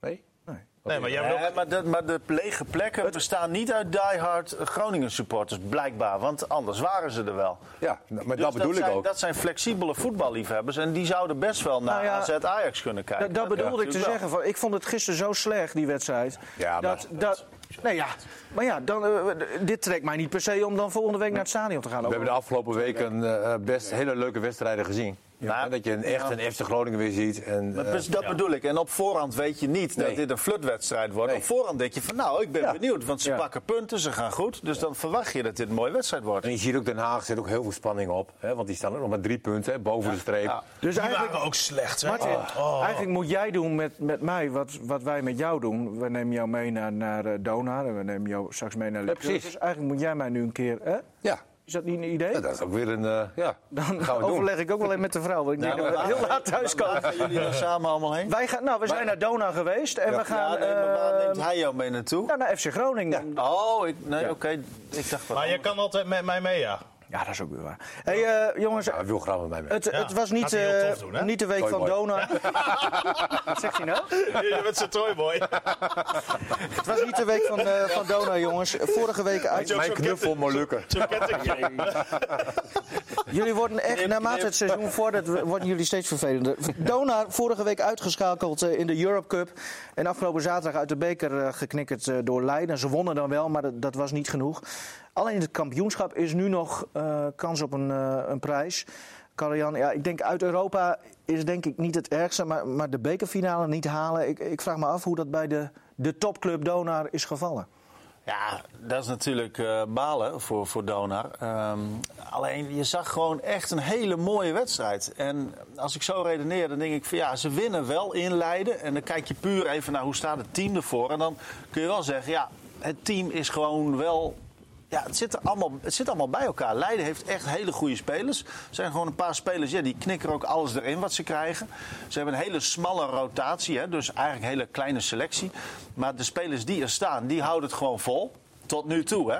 Speaker 5: Nee?
Speaker 2: Nee.
Speaker 6: Nee, maar jij wil
Speaker 4: Ja, maar, dat, maar de lege plekken bestaan niet uit diehard eh, Groningen supporters, blijkbaar. Want anders waren ze er wel.
Speaker 5: Ja, nou, maar
Speaker 4: Dus
Speaker 5: dat bedoel ik
Speaker 4: zijn,
Speaker 5: ook.
Speaker 4: Dat zijn flexibele voetballiefhebbers en die zouden best wel naar
Speaker 2: Nou ja,
Speaker 4: AZ Ajax kunnen kijken.
Speaker 2: Dat, dat bedoelde ik te
Speaker 4: natuurlijk
Speaker 2: zeggen. Van, ik vond het gisteren zo slecht, die wedstrijd.
Speaker 5: Ja, maar-
Speaker 2: dat, dat, nee, ja. Maar ja, dan, eh, d- dit trekt mij niet per se om dan volgende week naar het stadion te gaan.
Speaker 5: We hebben de afgelopen weken eh, best hele leuke wedstrijden gezien.
Speaker 4: Ja.
Speaker 5: En dat je een echt een FC Groningen weer ziet. En,
Speaker 4: wel.
Speaker 5: eh,
Speaker 4: Dus dat bedoel ik. En op voorhand weet je niet
Speaker 5: Nee.
Speaker 4: dat dit een flutwedstrijd wordt.
Speaker 5: Nee.
Speaker 4: Op voorhand denk je van nou, ik ben
Speaker 5: Ja.
Speaker 4: benieuwd. Want ze
Speaker 2: Ja.
Speaker 4: pakken punten, ze gaan goed. Dus dan verwacht je dat dit een mooie wedstrijd wordt.
Speaker 5: en je ziet ook Den Haag zit ook heel veel spanning op. Hè, want die staan er nog maar drie punten hè, boven de streep.
Speaker 4: Ja.
Speaker 2: dus
Speaker 6: Die
Speaker 2: eigenlijk,
Speaker 6: waren ook slecht, hè?
Speaker 2: Martin,
Speaker 6: Oh. Oh.
Speaker 2: eigenlijk moet jij doen met, met mij wat, wat wij met jou doen. We nemen jou mee naar, naar eh, Donar en we nemen jou straks mee naar Leeuwarden.
Speaker 5: precies.
Speaker 2: Dus eigenlijk moet jij mij nu een keer... Hè?
Speaker 5: Ja.
Speaker 2: Is dat niet een idee?
Speaker 5: Ja, dat is ook weer een. eh, ja,
Speaker 2: Dan
Speaker 5: gaan we doen.
Speaker 2: overleg ik ook wel even met de vrouw. Want ik denk dat we heel laat thuis
Speaker 4: Waar
Speaker 2: komen.
Speaker 4: gaan jullie dan samen allemaal heen?
Speaker 2: Wij gaan, nou, we zijn naar Dona geweest en we
Speaker 4: Ja,
Speaker 2: gaan
Speaker 4: nee, maar waar
Speaker 2: eh,
Speaker 4: neemt hij jou mee naartoe?
Speaker 2: nou, naar FC Groningen. Ja.
Speaker 4: Oh, ik, nee, oké. Ik dacht wel.
Speaker 6: Maar je kan altijd met mij mee, ja.
Speaker 2: dat is ook weer waar. Hey, eh, jongens,
Speaker 5: Ja, wil graag met mij mee.
Speaker 2: het, het was niet,
Speaker 6: Gaat hij heel
Speaker 2: eh,
Speaker 6: tof doen, hè?
Speaker 2: niet de week
Speaker 5: Mooi,
Speaker 2: van
Speaker 5: mooi.
Speaker 2: Dona. Wat zegt hij nou?
Speaker 6: Je bent zo'n toyboy.
Speaker 2: Het was niet de week van, eh, van Dona, jongens. Vorige week uit.
Speaker 6: ook
Speaker 5: Mijn
Speaker 6: zo'n
Speaker 5: knuffel Molukker.
Speaker 6: Zo'n kettingje.
Speaker 2: Jullie worden echt, naarmate het seizoen vordert, w- worden jullie steeds vervelender. Donar vorige week uitgeschakeld eh, in de Europe Cup. En afgelopen zaterdag uit de beker eh, geknikkerd eh, door Leiden. Ze wonnen dan wel, maar dat, dat was niet genoeg. Alleen het kampioenschap is nu nog eh, kans op een, eh, een prijs. Karjan, ja, ik denk uit Europa is denk ik niet het ergste. Maar, maar de bekerfinale niet halen. Ik, ik vraag me af hoe dat bij de, de topclub Donar is gevallen.
Speaker 4: Ja, dat is natuurlijk eh, balen voor, voor Donar. Ehm, alleen je zag gewoon echt een hele mooie wedstrijd. En als ik zo redeneer, dan denk ik van ja, ze winnen wel in Leiden. En dan kijk je puur even naar hoe staat het team ervoor. En dan kun je wel zeggen, ja, het team is gewoon wel. Ja, het zit, er allemaal, het zit allemaal bij elkaar. Leiden heeft echt hele goede spelers. Er zijn gewoon een paar spelers, ja, die knikken ook alles erin wat ze krijgen. Ze hebben een hele smalle rotatie, hè, dus eigenlijk een hele kleine selectie. Maar de spelers die er staan, die houden het gewoon vol. Tot nu toe, hè.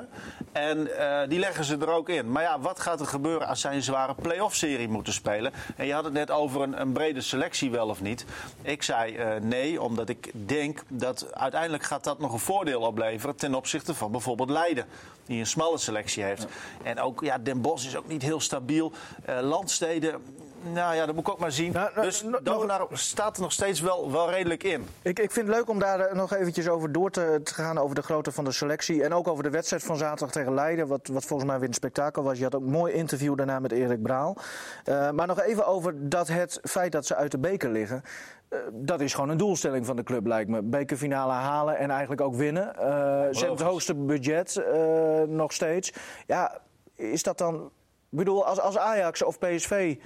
Speaker 4: En eh, die leggen ze er ook in. Maar ja, wat gaat er gebeuren als zij een zware play-off-serie moeten spelen? En je had het net over een, een brede selectie wel of niet. Ik zei eh, nee, omdat ik denk dat uiteindelijk gaat dat nog een voordeel opleveren... ten opzichte van bijvoorbeeld Leiden, die een smalle selectie heeft. En ook, ja, Den Bosch is ook niet heel stabiel. Eh, landsteden, nou ja, dat moet ik ook maar zien.
Speaker 2: Nou, nou,
Speaker 4: dus
Speaker 2: nog-
Speaker 4: Dovenaar staat er nog steeds wel, wel redelijk in.
Speaker 2: Ik, ik vind het leuk om daar eh, nog eventjes over door te, te gaan, over de grootte van de selectie. En ook over de wedstrijd van zaterdag tegen Leiden, wat, wat volgens mij weer een spektakel was. Je had ook een mooi interview daarna met Erik Braal. Eh, maar nog even over dat het feit dat ze uit de beker liggen. Eh, dat is gewoon een doelstelling van de club, lijkt me. Bekerfinale halen en eigenlijk ook winnen. Eh, ze hebben het hoogste budget eh, nog steeds. Ja, is dat dan... Ik bedoel, als, als Ajax of PSV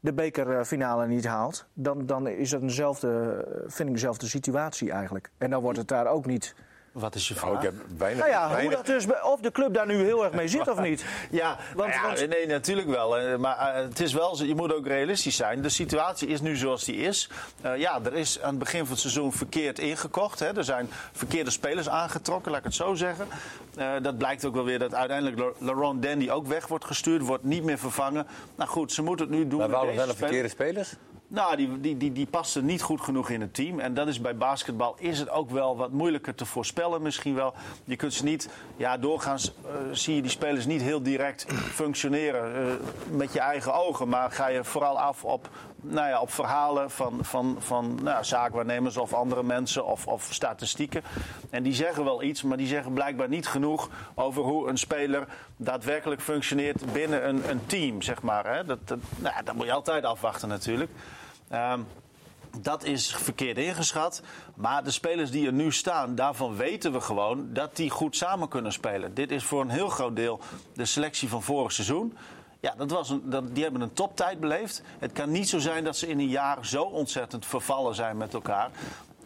Speaker 2: de bekerfinale niet haalt, dan, dan is dat eenzelfde, eh, vind ik dezelfde situatie eigenlijk. En dan wordt het daar ook niet
Speaker 4: Wat is je vraag?
Speaker 5: Nou, ik heb weinig...
Speaker 2: Nou ja, hoe
Speaker 5: weinig-
Speaker 2: dat dus, of de club daar nu heel erg mee zit of niet.
Speaker 4: Ja,
Speaker 2: Want-
Speaker 4: nou ja,
Speaker 2: want-
Speaker 4: nee, natuurlijk wel. Eh, Maar eh, het is wel, zo- je moet ook realistisch zijn. De situatie is nu zoals die is. Eh, ja, er is aan het begin van het seizoen verkeerd ingekocht. Hè. Er zijn verkeerde spelers aangetrokken, laat ik het zo zeggen. Eh, dat blijkt ook wel weer dat uiteindelijk La- Laurent Dandy ook weg wordt gestuurd. Wordt niet meer vervangen. Nou goed, ze moeten het nu doen
Speaker 5: Maar
Speaker 4: met
Speaker 5: waarom
Speaker 4: deze
Speaker 5: zijn er
Speaker 4: spelers.
Speaker 5: verkeerde spelers?
Speaker 4: Nou, die, die, die, die pasten niet goed genoeg in het team. En dat is bij basketbal is het ook wel wat moeilijker te voorspellen misschien wel. Je kunt ze niet... Ja, doorgaans eh, zie je die spelers niet heel direct functioneren eh, met je eigen ogen. Maar ga je vooral af op, nou ja, op verhalen van, van, van nou, ja, zaakwaarnemers of andere mensen of, of statistieken. En die zeggen wel iets, maar die zeggen blijkbaar niet genoeg over hoe een speler daadwerkelijk functioneert binnen een, een team, zeg maar. Hè. Dat, dat, nou, ja, dat moet je altijd afwachten natuurlijk. Ehm, dat is verkeerd ingeschat. Maar de spelers die er nu staan, daarvan weten we gewoon dat die goed samen kunnen spelen. Dit is voor een heel groot deel de selectie van vorig seizoen. Ja, dat was een, dat, die hebben een toptijd beleefd. Het kan niet zo zijn dat ze in een jaar zo ontzettend vervallen zijn met elkaar.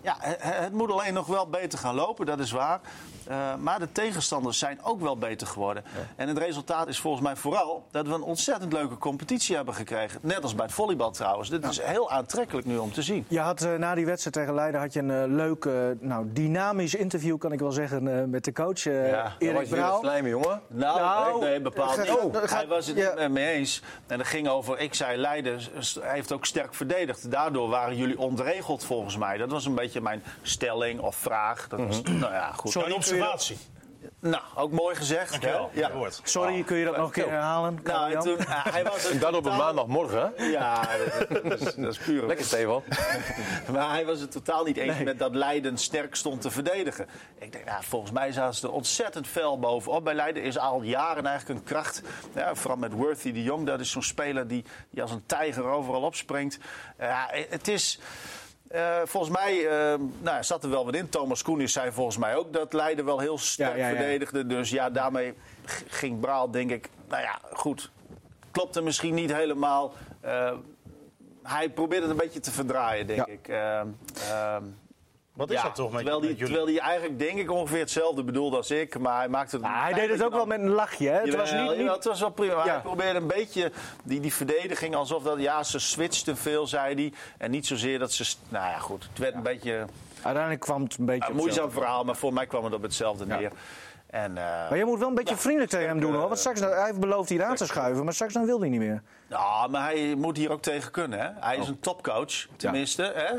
Speaker 4: Ja, he- he- het moet alleen nog wel beter gaan lopen, dat is waar. Eh, maar de tegenstanders zijn ook wel beter geworden. En het resultaat is volgens mij vooral dat we een ontzettend leuke competitie hebben gekregen. Net als bij het volleybal trouwens. Dit is heel aantrekkelijk nu om te zien.
Speaker 2: Je had eh, na die wedstrijd tegen Leiden had je een eh, leuk, eh, nou, dynamisch interview, kan ik wel zeggen, eh, met de coach eh,
Speaker 4: Ja, dat
Speaker 5: Dat was
Speaker 2: Erik
Speaker 5: weer een
Speaker 2: Brouw.
Speaker 5: slijme jongen.
Speaker 4: Nou,
Speaker 2: Nou,
Speaker 4: nee, nee, bepaald
Speaker 2: ga-
Speaker 4: niet.
Speaker 2: oh, ga-
Speaker 4: hij was het
Speaker 2: ja.
Speaker 4: niet mee eens. En dat ging over, ik zei Leiden s- s- heeft ook sterk verdedigd. Daardoor waren jullie ontregeld volgens mij. Dat was een beetje mijn stelling of vraag. Dat was, nou ja, goed.
Speaker 6: Een observatie.
Speaker 4: Nou, ook mooi gezegd. Hè?
Speaker 6: Ja, ja. Hoort.
Speaker 2: Sorry, kun je dat nog een keer herhalen?
Speaker 4: Oh, Nou, en
Speaker 2: Karel-Jan?
Speaker 4: toen, eh, hij was
Speaker 5: En dan op een
Speaker 4: totaal-
Speaker 5: maandagmorgen. hè?
Speaker 4: Ja, dat, dat is, dat is puur.
Speaker 5: Lekker, Stefan.
Speaker 4: Maar hij was het totaal niet eens met dat Leiden sterk stond te verdedigen. Ik denk, nou, volgens mij zaten ze er ontzettend fel bovenop. Bij Leiden is al jaren eigenlijk een kracht. Ja, vooral met Worthy de Jong. Dat is zo'n speler die, die als een tijger overal opspringt. Ja, het is... eh, volgens mij eh, nou, zat er wel wat in. Thomas Koenis zei volgens mij ook dat Leiden wel heel sterk
Speaker 2: ja, ja.
Speaker 4: verdedigde. Dus ja, daarmee g- ging Braal, denk ik. Nou ja, goed. Klopte misschien niet helemaal. Eh, hij probeert het een beetje te verdraaien, denk
Speaker 2: Ja.
Speaker 4: ik. Ehm, ehm,
Speaker 6: Wat is
Speaker 4: ja,
Speaker 6: dat toch met,
Speaker 4: terwijl die,
Speaker 6: met jullie?
Speaker 4: Terwijl hij eigenlijk, denk ik, ongeveer hetzelfde bedoelde als ik. Maar hij maakte het...
Speaker 2: Ah, hij deed het ook wel met een lachje, hè? Het was
Speaker 4: Jawel,
Speaker 2: niet,
Speaker 4: jawel,
Speaker 2: niet
Speaker 4: het was wel prima. maar
Speaker 2: Ja.
Speaker 4: Hij probeerde een beetje die, die verdediging alsof dat... Ja, ze switchten veel, zei hij. En niet zozeer dat ze... s- Nou ja, goed. Het werd een beetje
Speaker 2: Uiteindelijk kwam het een beetje
Speaker 4: een
Speaker 2: op
Speaker 4: Ah, moeizaam
Speaker 2: zelf.
Speaker 4: verhaal. Maar voor mij kwam het op hetzelfde neer. En, eh,
Speaker 2: Maar je moet wel een beetje vriendelijk tegen hem doen, hoor. Want straks, hij heeft beloofd hier aan te schuiven, maar straks dan wil hij niet meer.
Speaker 4: Nou, maar hij moet hier ook tegen kunnen. Hè? Hij
Speaker 2: Oh.
Speaker 4: is een topcoach, tenminste. Hè?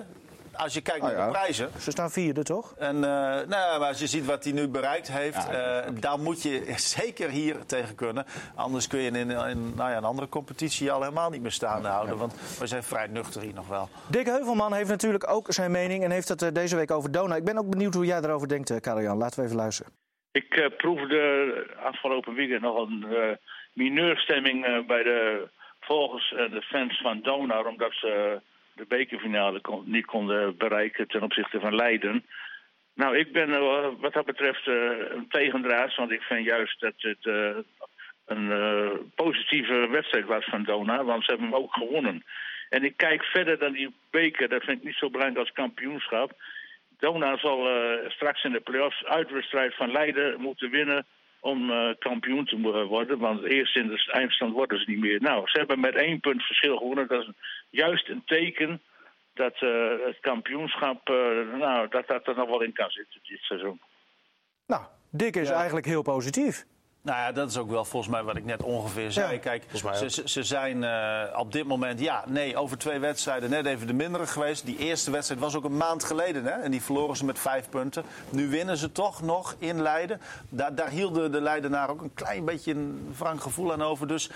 Speaker 4: Als je kijkt naar de prijzen.
Speaker 2: Ze staan vierde, toch?
Speaker 4: En eh, nou, ja, maar als je ziet wat hij nu bereikt heeft, eh, daar moet je zeker hier tegen kunnen. Anders kun je in, in nou ja, een andere competitie al helemaal niet meer staande houden. Want we zijn vrij nuchter hier nog wel.
Speaker 2: Dick Heuvelman heeft natuurlijk ook zijn mening en heeft het eh, deze week over Dona. Ik ben ook benieuwd hoe jij daarover denkt, eh, Karel-Jan. Laten we even luisteren.
Speaker 7: Ik eh, proefde afgelopen weekend nog een eh, mineurstemming eh, bij de volgers en de fans van Donar. Omdat ze eh, de bekerfinale kon- niet konden bereiken ten opzichte van Leiden. Nou, ik ben eh, wat dat betreft eh, een tegendraad. Want ik vind juist dat het eh, een eh, positieve wedstrijd was van Donar. Want ze hebben hem ook gewonnen. En ik kijk verder dan die beker. Dat vind ik niet zo belangrijk als kampioenschap. Dona zal eh, straks in de play-offs uitwedstrijd van Leiden moeten winnen om eh, kampioen te mo- worden. Want eerst in de eindstand worden ze niet meer. Nou, ze hebben met één punt verschil gewonnen. Dat is juist een teken dat eh, het kampioenschap, eh, nou, dat dat er nog wel in kan zitten dit seizoen.
Speaker 2: Nou, Dick is eigenlijk heel positief.
Speaker 4: Nou ja, dat is ook wel volgens mij wat ik net ongeveer zei.
Speaker 2: Ja,
Speaker 4: Kijk, ze, ze- ze zijn eh, op dit moment, ja, nee, over twee wedstrijden net even de mindere geweest. Die eerste wedstrijd was ook een maand geleden, hè? En die verloren ze met vijf punten. Nu winnen ze toch nog in Leiden. Daar, daar hielden de Leidenaar ook een klein beetje een wrang gevoel aan over. Dus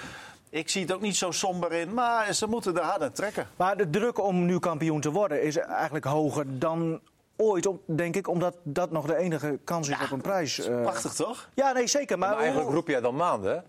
Speaker 4: ik zie het ook niet zo somber in. Maar ze moeten er hard aan trekken.
Speaker 2: Maar de druk om nu kampioen te worden is eigenlijk hoger dan ooit, om- denk ik. Omdat dat nog de enige kans is op een prijs. eh.
Speaker 4: Prachtig, toch?
Speaker 2: Ja, nee, zeker. Maar,
Speaker 5: Maar eigenlijk roep jij dan maanden, hè?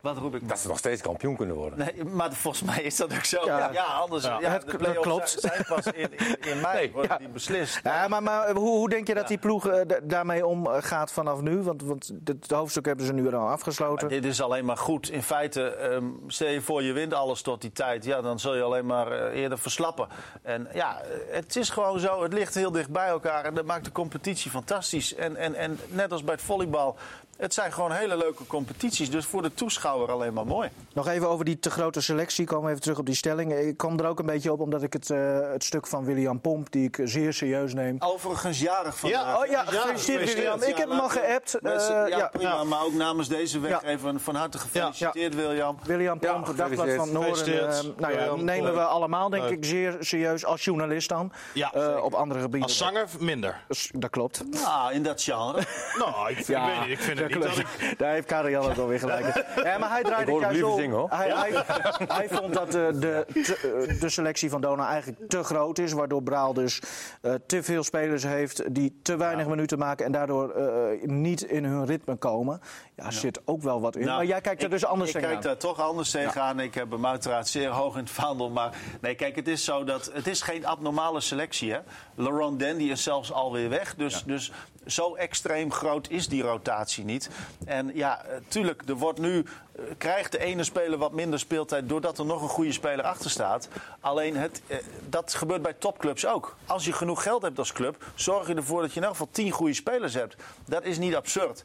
Speaker 4: Wat roep ik?
Speaker 5: Dat ze nog steeds kampioen kunnen worden.
Speaker 4: Nee, maar volgens mij is dat ook zo. Ja, anders. Ja,
Speaker 2: het-
Speaker 4: de
Speaker 2: dat
Speaker 4: play-offs
Speaker 2: klopt.
Speaker 4: zijn zijn pas in, in, in mei worden die beslist.
Speaker 2: Ja, maar, maar hoe, hoe denk je dat die ploeg eh, da- daarmee omgaat vanaf nu? Want, want het hoofdstuk hebben ze nu al afgesloten.
Speaker 4: Dit is alleen maar goed. In feite, ehm stel je voor je wint alles tot die tijd. Ja, dan zul je alleen maar eh, eerder verslappen. En ja, eh, het is gewoon zo. Het ligt heel dicht bij elkaar. En dat maakt de competitie fantastisch. En, en, en net als bij het volleybal. Het zijn gewoon hele leuke competities. Dus voor de toeschouwer alleen maar mooi.
Speaker 2: Nog even over die te grote selectie. Ik kwam even terug op die stelling. Ik kwam er ook een beetje op omdat ik het, eh, het stuk van William Pomp, die ik zeer serieus neem.
Speaker 4: Overigens jarig van
Speaker 6: Ja,
Speaker 2: oh ja, gefeliciteerd, William. Ik heb hem al geappt.
Speaker 4: Mensen,
Speaker 2: Eh,
Speaker 4: ja,
Speaker 2: ja.
Speaker 4: prima.
Speaker 2: Ja.
Speaker 4: Maar ook namens deze weg
Speaker 2: Ja.
Speaker 4: even van harte gefeliciteerd, William.
Speaker 2: William Pomp, het dagblad van Noorden.
Speaker 6: Gefeliciteerd.
Speaker 2: eh, nou ja,
Speaker 6: Ja,
Speaker 2: dat nemen we
Speaker 6: leuk.
Speaker 2: allemaal, denk
Speaker 6: Leuk.
Speaker 2: ik, zeer serieus. Als journalist dan.
Speaker 6: Ja,
Speaker 2: Eh,
Speaker 6: zeker.
Speaker 2: op andere gebieden.
Speaker 6: Als zanger minder.
Speaker 2: Dus Dat klopt.
Speaker 4: Nou, in dat genre.
Speaker 6: Nou, ik, vind- ik weet niet. Ik vind het niet dat ik...
Speaker 2: Daar heeft Karel het alweer gelijk. in. Ja, maar hij draaide
Speaker 5: Ik hoor
Speaker 2: het
Speaker 5: hem
Speaker 2: juist
Speaker 5: liever
Speaker 2: om.
Speaker 5: zingen, hoor.
Speaker 2: Hij, hij, hij vond dat de, de, te- eh, de selectie van Dona eigenlijk te groot is. Waardoor Braal dus eh, te veel spelers heeft die te weinig minuten maken. En daardoor eh, niet in hun ritme komen. Ja, zit ook wel wat in.
Speaker 4: Nou,
Speaker 2: maar jij kijkt er
Speaker 4: ik-
Speaker 2: dus anders
Speaker 4: Ik kijk
Speaker 2: tegenaan.
Speaker 4: daar toch anders tegenaan. Ik heb hem uiteraard zeer hoog in het vaandel. Maar nee, kijk, het is zo dat het is geen abnormale selectie hè. Laurent Dandy is zelfs alweer weg. Dus, dus zo extreem groot is die rotatie niet. En ja, eh, tuurlijk, er wordt nu. eh, Krijgt de ene speler wat minder speeltijd doordat er nog een goede speler achter staat. Alleen het, eh, dat gebeurt bij topclubs ook. Als je genoeg geld hebt als club, zorg je ervoor dat je in elk geval tien goede spelers hebt. Dat is niet absurd.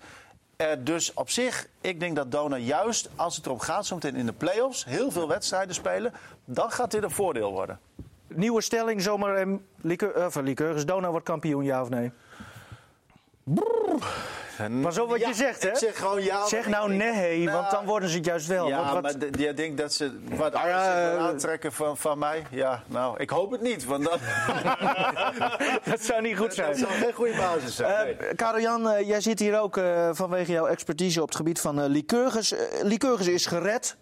Speaker 4: Eh, dus op zich, ik denk dat Dona juist als het erom gaat, zometeen in de play-offs, heel veel wedstrijden spelen, dan gaat dit een voordeel worden.
Speaker 2: Nieuwe stelling zomaar. ehm, Lieke- eh, van Liekeurig. Dona wordt kampioen, ja of nee? Maar zo wat je zegt, hè?
Speaker 4: Ik zeg gewoon ja.
Speaker 2: Zeg
Speaker 4: maar
Speaker 2: nou
Speaker 4: ik-
Speaker 2: nee,
Speaker 4: Nou,
Speaker 2: want dan worden ze het juist wel.
Speaker 4: Ja,
Speaker 2: Want wat-
Speaker 4: maar d- jij denkt dat ze wat
Speaker 2: Nou ja,
Speaker 4: anders willen
Speaker 2: eh,
Speaker 4: aantrekken van, van mij? Ja, nou, ik hoop het niet, want dat,
Speaker 2: dat zou niet goed zijn.
Speaker 4: dat zou geen goede basis zijn. nee.
Speaker 2: Eh Karel-Jan, eh, jij zit hier ook eh, vanwege jouw expertise op het gebied van eh liqueurs. Eh, liqueurs is gered.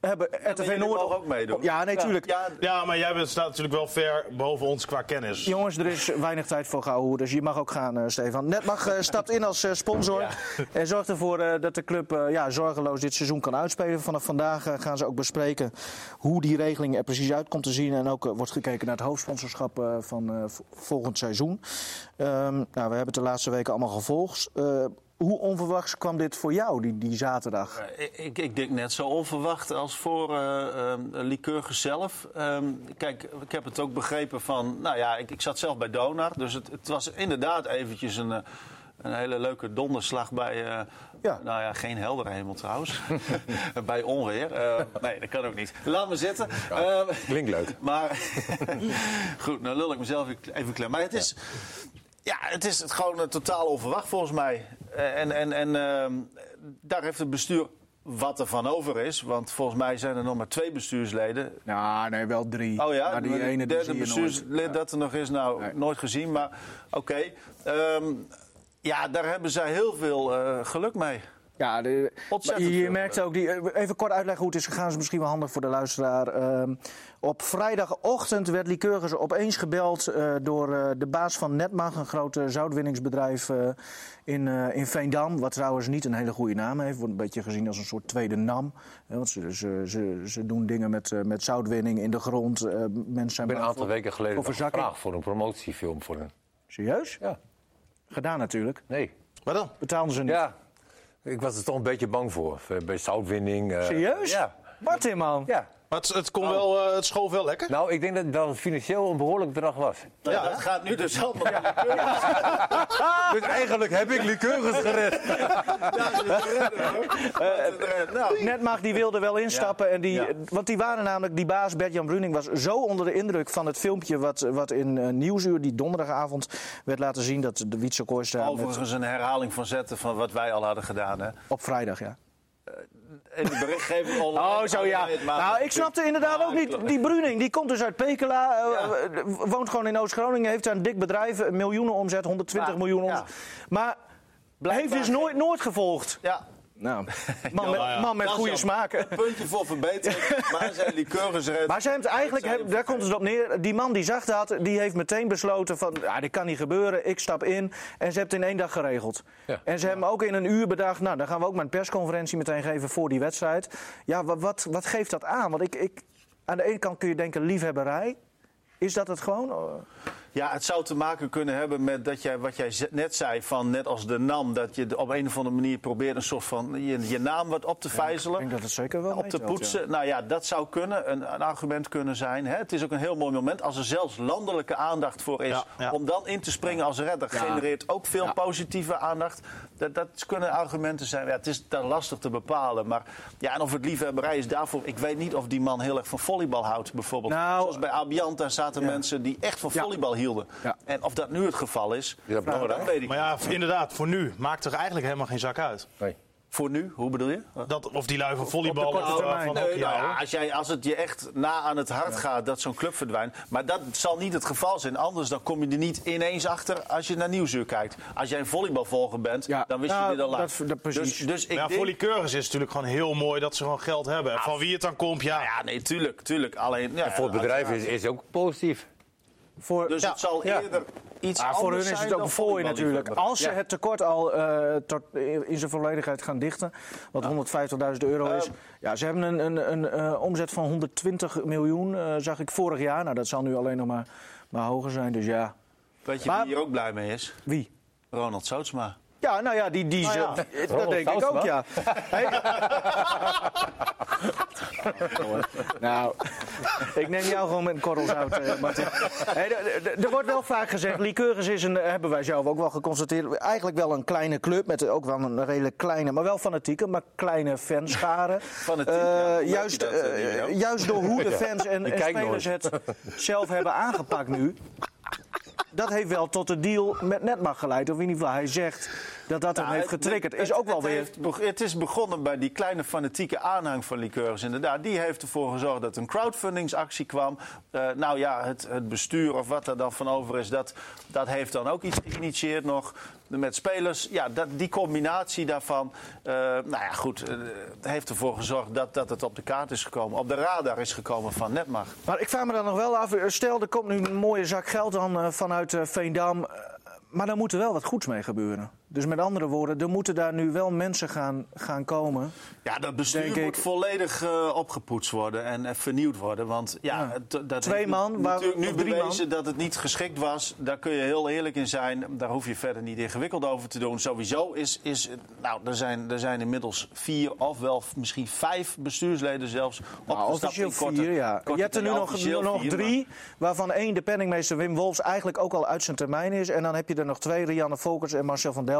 Speaker 2: Hebben RTV
Speaker 4: jullie
Speaker 2: Noord
Speaker 4: mogen ook meedoen.
Speaker 2: Ja, nee, tuurlijk.
Speaker 4: Ja,
Speaker 6: Ja, maar jij bent, staat natuurlijk wel ver boven ons qua kennis.
Speaker 2: Jongens, er is weinig tijd voor gehouden, dus je mag ook gaan, eh, Stefan. Netmag eh, stapt in als eh, sponsor en zorgt ervoor eh, dat de club eh, ja, zorgeloos dit seizoen kan uitspelen. Vanaf vandaag eh, gaan ze ook bespreken hoe die regeling er precies uit komt te zien. En ook eh, wordt gekeken naar het hoofdsponsorschap eh, van eh, v- volgend seizoen. Ehm, nou, we hebben het de laatste weken allemaal gevolgd. Eh, hoe onverwachts kwam dit voor jou, die, die zaterdag?
Speaker 4: Eh, Ik- Ik, ik denk net zo onverwacht als voor eh ehm, Lycurgus zelf. Ehm, kijk, ik heb het ook begrepen van... Nou ja, ik, ik zat zelf bij Donar. Dus het, het was inderdaad eventjes een, eh, een hele leuke donderslag bij... eh,
Speaker 2: Ja.
Speaker 4: Nou ja, geen heldere hemel trouwens. bij onweer. Eh, nee, dat kan ook niet. Laat me zitten. Ehm,
Speaker 5: Klinkt leuk.
Speaker 4: maar goed, nou lul ik mezelf even klem. Maar het is, ja. het is het gewoon eh, totaal onverwacht volgens mij. Eh, En, en, en ehm, daar heeft het bestuur wat er van over is. Want volgens mij zijn er nog maar twee bestuursleden.
Speaker 2: Nou, nee, wel drie.
Speaker 4: Oh ja,
Speaker 2: maar
Speaker 4: de
Speaker 2: die ene die
Speaker 4: derde
Speaker 2: zie je nooit.
Speaker 4: bestuurslid dat er nog is, nou, nooit gezien. Maar oké, Ehm, ja, daar hebben zij heel veel eh, geluk mee.
Speaker 2: Ja, de,
Speaker 4: Ontzettend
Speaker 2: maar je
Speaker 4: veel
Speaker 5: eh.
Speaker 2: merkt ook, die, even kort uitleggen hoe het is gegaan, is misschien wel handig voor de luisteraar. Ehm, op vrijdagochtend werd Lycurgus opeens gebeld eh, door eh, de baas van Netmag, een groot eh, zoutwinningsbedrijf eh, in, eh, in Veendam. Wat trouwens niet een hele goede naam heeft, wordt een beetje gezien als een soort tweede NAM. hè, want ze, ze, ze, ze doen dingen met, eh, met zoutwinning in de grond. eh, mensen zijn
Speaker 5: Ik ben een
Speaker 2: bang
Speaker 5: aantal
Speaker 2: voor-
Speaker 5: weken geleden
Speaker 2: voor
Speaker 5: nog
Speaker 2: verzakking.
Speaker 5: gevraagd voor een promotiefilm. Voor een...
Speaker 2: Serieus?
Speaker 5: Ja,
Speaker 2: Gedaan natuurlijk.
Speaker 5: nee.
Speaker 6: Wat dan?
Speaker 2: Betaalden ze niet.
Speaker 5: Ja, ik was er toch een beetje bang voor. Eh, Bij zoutwinning. eh,
Speaker 2: Serieus?
Speaker 5: Ja.
Speaker 2: Martin, man.
Speaker 5: ja.
Speaker 6: Maar het, het, kon wel, eh, het schoof wel lekker.
Speaker 5: Nou, ik denk dat, dat het financieel een behoorlijk bedrag was.
Speaker 4: Nou, dat gaat nu dus allemaal om de
Speaker 5: Dus eigenlijk heb ik liqueurs gered.
Speaker 4: kleur. Nou,
Speaker 2: Netmag die wilde wel instappen. En die, Want die waren namelijk, die baas Bert-Jan Bruning was zo onder de indruk van het filmpje wat, wat in eh, Nieuwsuur die donderdagavond werd laten zien. Dat de Wietse Kooistra met-
Speaker 4: Overigens een herhaling van zetten van wat wij al hadden gedaan. Hè?
Speaker 2: op vrijdag, ja.
Speaker 4: En de berichtgeving online.
Speaker 2: Oh, zo ja.
Speaker 4: Allerlei het
Speaker 2: Nou,
Speaker 4: maakt
Speaker 2: ik
Speaker 4: natuurlijk-
Speaker 2: snapte inderdaad
Speaker 4: Ja,
Speaker 2: ook niet.
Speaker 4: klopt.
Speaker 2: Die Bruning, die komt dus uit Pekela, eh, eh, woont gewoon in Oost-Groningen, heeft daar een dik bedrijf, een miljoenen omzet, 120
Speaker 4: Maar,
Speaker 2: miljoen omzet.
Speaker 4: ja.
Speaker 2: Maar heeft dus nooit, nooit gevolgd.
Speaker 4: Ja,
Speaker 2: Nou, man, met, man met
Speaker 4: Dat is
Speaker 2: goede
Speaker 4: jammer.
Speaker 2: smaak.
Speaker 4: Een puntje voor verbetering. maar zijn die keurigers redt.
Speaker 2: Maar ze hebben het eigenlijk,
Speaker 4: zijn
Speaker 2: hebben- daar komt het dus op neer. Die man die zag dat, die heeft meteen besloten van... Ah, dit kan niet gebeuren, ik stap in. En ze hebben het in één dag geregeld.
Speaker 5: Ja.
Speaker 2: En ze hebben ook in een uur bedacht... nou, dan gaan we ook maar een persconferentie meteen geven voor die wedstrijd. Ja, wat, wat, wat geeft dat aan? Want ik, ik, aan de ene kant kun je denken liefhebberij... Is dat het gewoon? Eh,
Speaker 4: Ja, het zou te maken kunnen hebben met dat jij, wat jij ze- net zei, van net als de NAM, dat je op een of andere manier probeert een soort van je, je naam wat op te
Speaker 2: Ik
Speaker 4: vijzelen.
Speaker 2: denk dat het zeker wel
Speaker 4: op te
Speaker 2: meetelt, ja.
Speaker 4: poetsen. Nou ja, dat zou kunnen, een, een argument kunnen zijn. Hè? Het is ook een heel mooi moment als er zelfs landelijke aandacht voor is.
Speaker 6: Ja, ja.
Speaker 4: Om dan in te springen als redder genereert ook veel positieve aandacht. Dat, dat kunnen argumenten zijn. Ja, het is daar lastig te bepalen. Maar ja, en of het liefhebberij is daarvoor. Ik weet niet of die man heel erg van volleybal houdt, bijvoorbeeld.
Speaker 2: Nou,
Speaker 4: Zoals bij Abiant, daar zaten mensen die echt van
Speaker 2: Ja.
Speaker 4: volleybal hielden.
Speaker 2: Ja.
Speaker 4: En of dat nu het geval is,
Speaker 5: Ja, dat
Speaker 4: nou, dat
Speaker 5: belangrijk.
Speaker 4: weet ik.
Speaker 6: Maar ja, v- inderdaad, voor nu maakt er eigenlijk helemaal geen zak uit.
Speaker 5: Nee.
Speaker 4: Voor nu, hoe bedoel je?
Speaker 6: Dat, of die lui van volleybal of
Speaker 2: korte
Speaker 6: eh,
Speaker 2: termijn.
Speaker 6: van
Speaker 4: Nee,
Speaker 6: hockey
Speaker 4: nou ja,
Speaker 6: houden.
Speaker 4: als, jij, als het je echt na aan het hart gaat dat zo'n club verdwijnt. Maar dat zal niet het geval zijn. Anders dan kom je er niet ineens achter als je naar Nieuwsuur kijkt. Als jij een volleybalvolger bent,
Speaker 2: Ja.
Speaker 4: dan wist
Speaker 2: Nou,
Speaker 4: je dit al lang.
Speaker 2: dat- dat precies.
Speaker 4: Dus, dus ik
Speaker 6: Maar ja,
Speaker 4: denk...
Speaker 6: voor die keurigers is het natuurlijk gewoon heel mooi dat ze gewoon geld hebben. van wie het dan komt, Nou ja.
Speaker 4: Ja, nee, tuurlijk, tuurlijk. Alleen, ja,
Speaker 5: En voor het bedrijf is, is ook positief.
Speaker 2: Voor,
Speaker 4: Dus het zal eerder iets
Speaker 2: Maar voor
Speaker 4: anders
Speaker 2: hun is
Speaker 4: zijn
Speaker 2: het ook
Speaker 4: dan
Speaker 2: een fooi natuurlijk.
Speaker 4: volleyballiefhebber.
Speaker 2: Als ze het tekort al eh, tot, in zijn volledigheid gaan dichten, wat 150.000 euro is. Ja, ze hebben een, een, een eh, omzet van 120 miljoen, eh, zag ik vorig jaar. Nou, dat zal nu alleen nog maar, maar hoger zijn. Dus ja,
Speaker 4: Weet je
Speaker 2: Maar-
Speaker 4: wie hier ook blij mee is?
Speaker 2: wie?
Speaker 4: Ronald Sootsma.
Speaker 2: Ja, nou ja, die, die
Speaker 4: Nou
Speaker 2: zult-
Speaker 4: ja.
Speaker 2: eh, dat denk ik ook, ja. Hey. nou, ik neem jou gewoon met een korrel zout, eh, Martin. Hey, d- d- d- er wordt wel vaak gezegd, Lycurgus is een, eh, hebben wij zelf ook wel geconstateerd, eigenlijk wel een kleine club met ook wel een redelijk kleine, maar wel fanatieke, maar kleine fanscharen.
Speaker 4: Fanatiek,
Speaker 2: Eh,
Speaker 4: ja. Merk je
Speaker 2: juist,
Speaker 4: dat, eh,
Speaker 2: eh,
Speaker 4: Leo?
Speaker 2: juist door hoe de fans en,
Speaker 5: Die
Speaker 2: en
Speaker 5: kijkt
Speaker 2: spelers
Speaker 5: nooit.
Speaker 2: het zelf hebben aangepakt nu, dat heeft wel tot de deal met Netmar geleid. Of in ieder geval, hij zegt dat dat hem
Speaker 4: Nou,
Speaker 2: heeft
Speaker 4: het-
Speaker 2: getriggerd.
Speaker 4: het-
Speaker 2: Is ook wel
Speaker 4: het
Speaker 2: weer...
Speaker 4: heeft be- het is begonnen bij die kleine fanatieke aanhang van Liqueurs, inderdaad. Die heeft ervoor gezorgd dat een crowdfundingsactie kwam. Eh, nou ja, het, het bestuur of wat er dan van over is, dat, dat heeft dan ook iets geïnitieerd nog. Met spelers, ja, dat, die combinatie daarvan, eh, nou ja, goed, eh, heeft ervoor gezorgd dat, dat het op de kaart is gekomen. Op de radar is gekomen van Netmar.
Speaker 2: Maar ik vraag me dan nog wel af. eh, Stel, er komt nu een mooie zak geld dan eh, vanuit eh, Veendam. eh, Maar daar moet er wel wat goeds mee gebeuren. Dus met andere woorden, er moeten daar nu wel mensen gaan, gaan komen.
Speaker 4: Ja, dat bestuur
Speaker 2: Denk
Speaker 4: moet
Speaker 2: ik.
Speaker 4: volledig eh, opgepoetst worden en eh, vernieuwd worden. Want ja,
Speaker 2: Ja.
Speaker 4: het- dat
Speaker 2: Twee
Speaker 4: heeft nu-
Speaker 2: man, waar-
Speaker 4: natuurlijk nu
Speaker 2: of drie
Speaker 4: bewezen dat het niet geschikt was. Daar kun je heel eerlijk in zijn. Daar hoef je verder niet ingewikkeld over te doen. Sowieso is, is het- nou, er zijn, er zijn inmiddels vier of wel f- misschien vijf bestuursleden zelfs
Speaker 2: Nou,
Speaker 4: opgestapt.
Speaker 2: officieel
Speaker 4: in korte-
Speaker 2: vier, ja.
Speaker 4: korte
Speaker 2: Je hebt er nu
Speaker 4: termijn.
Speaker 2: nog,
Speaker 4: Officieel
Speaker 2: nog
Speaker 4: vier, maar-
Speaker 2: drie, waarvan één de penningmeester Wim Wolfs eigenlijk ook al uit zijn termijn is. En dan heb je er nog twee, Rianne Volkers en Marcel van Delden.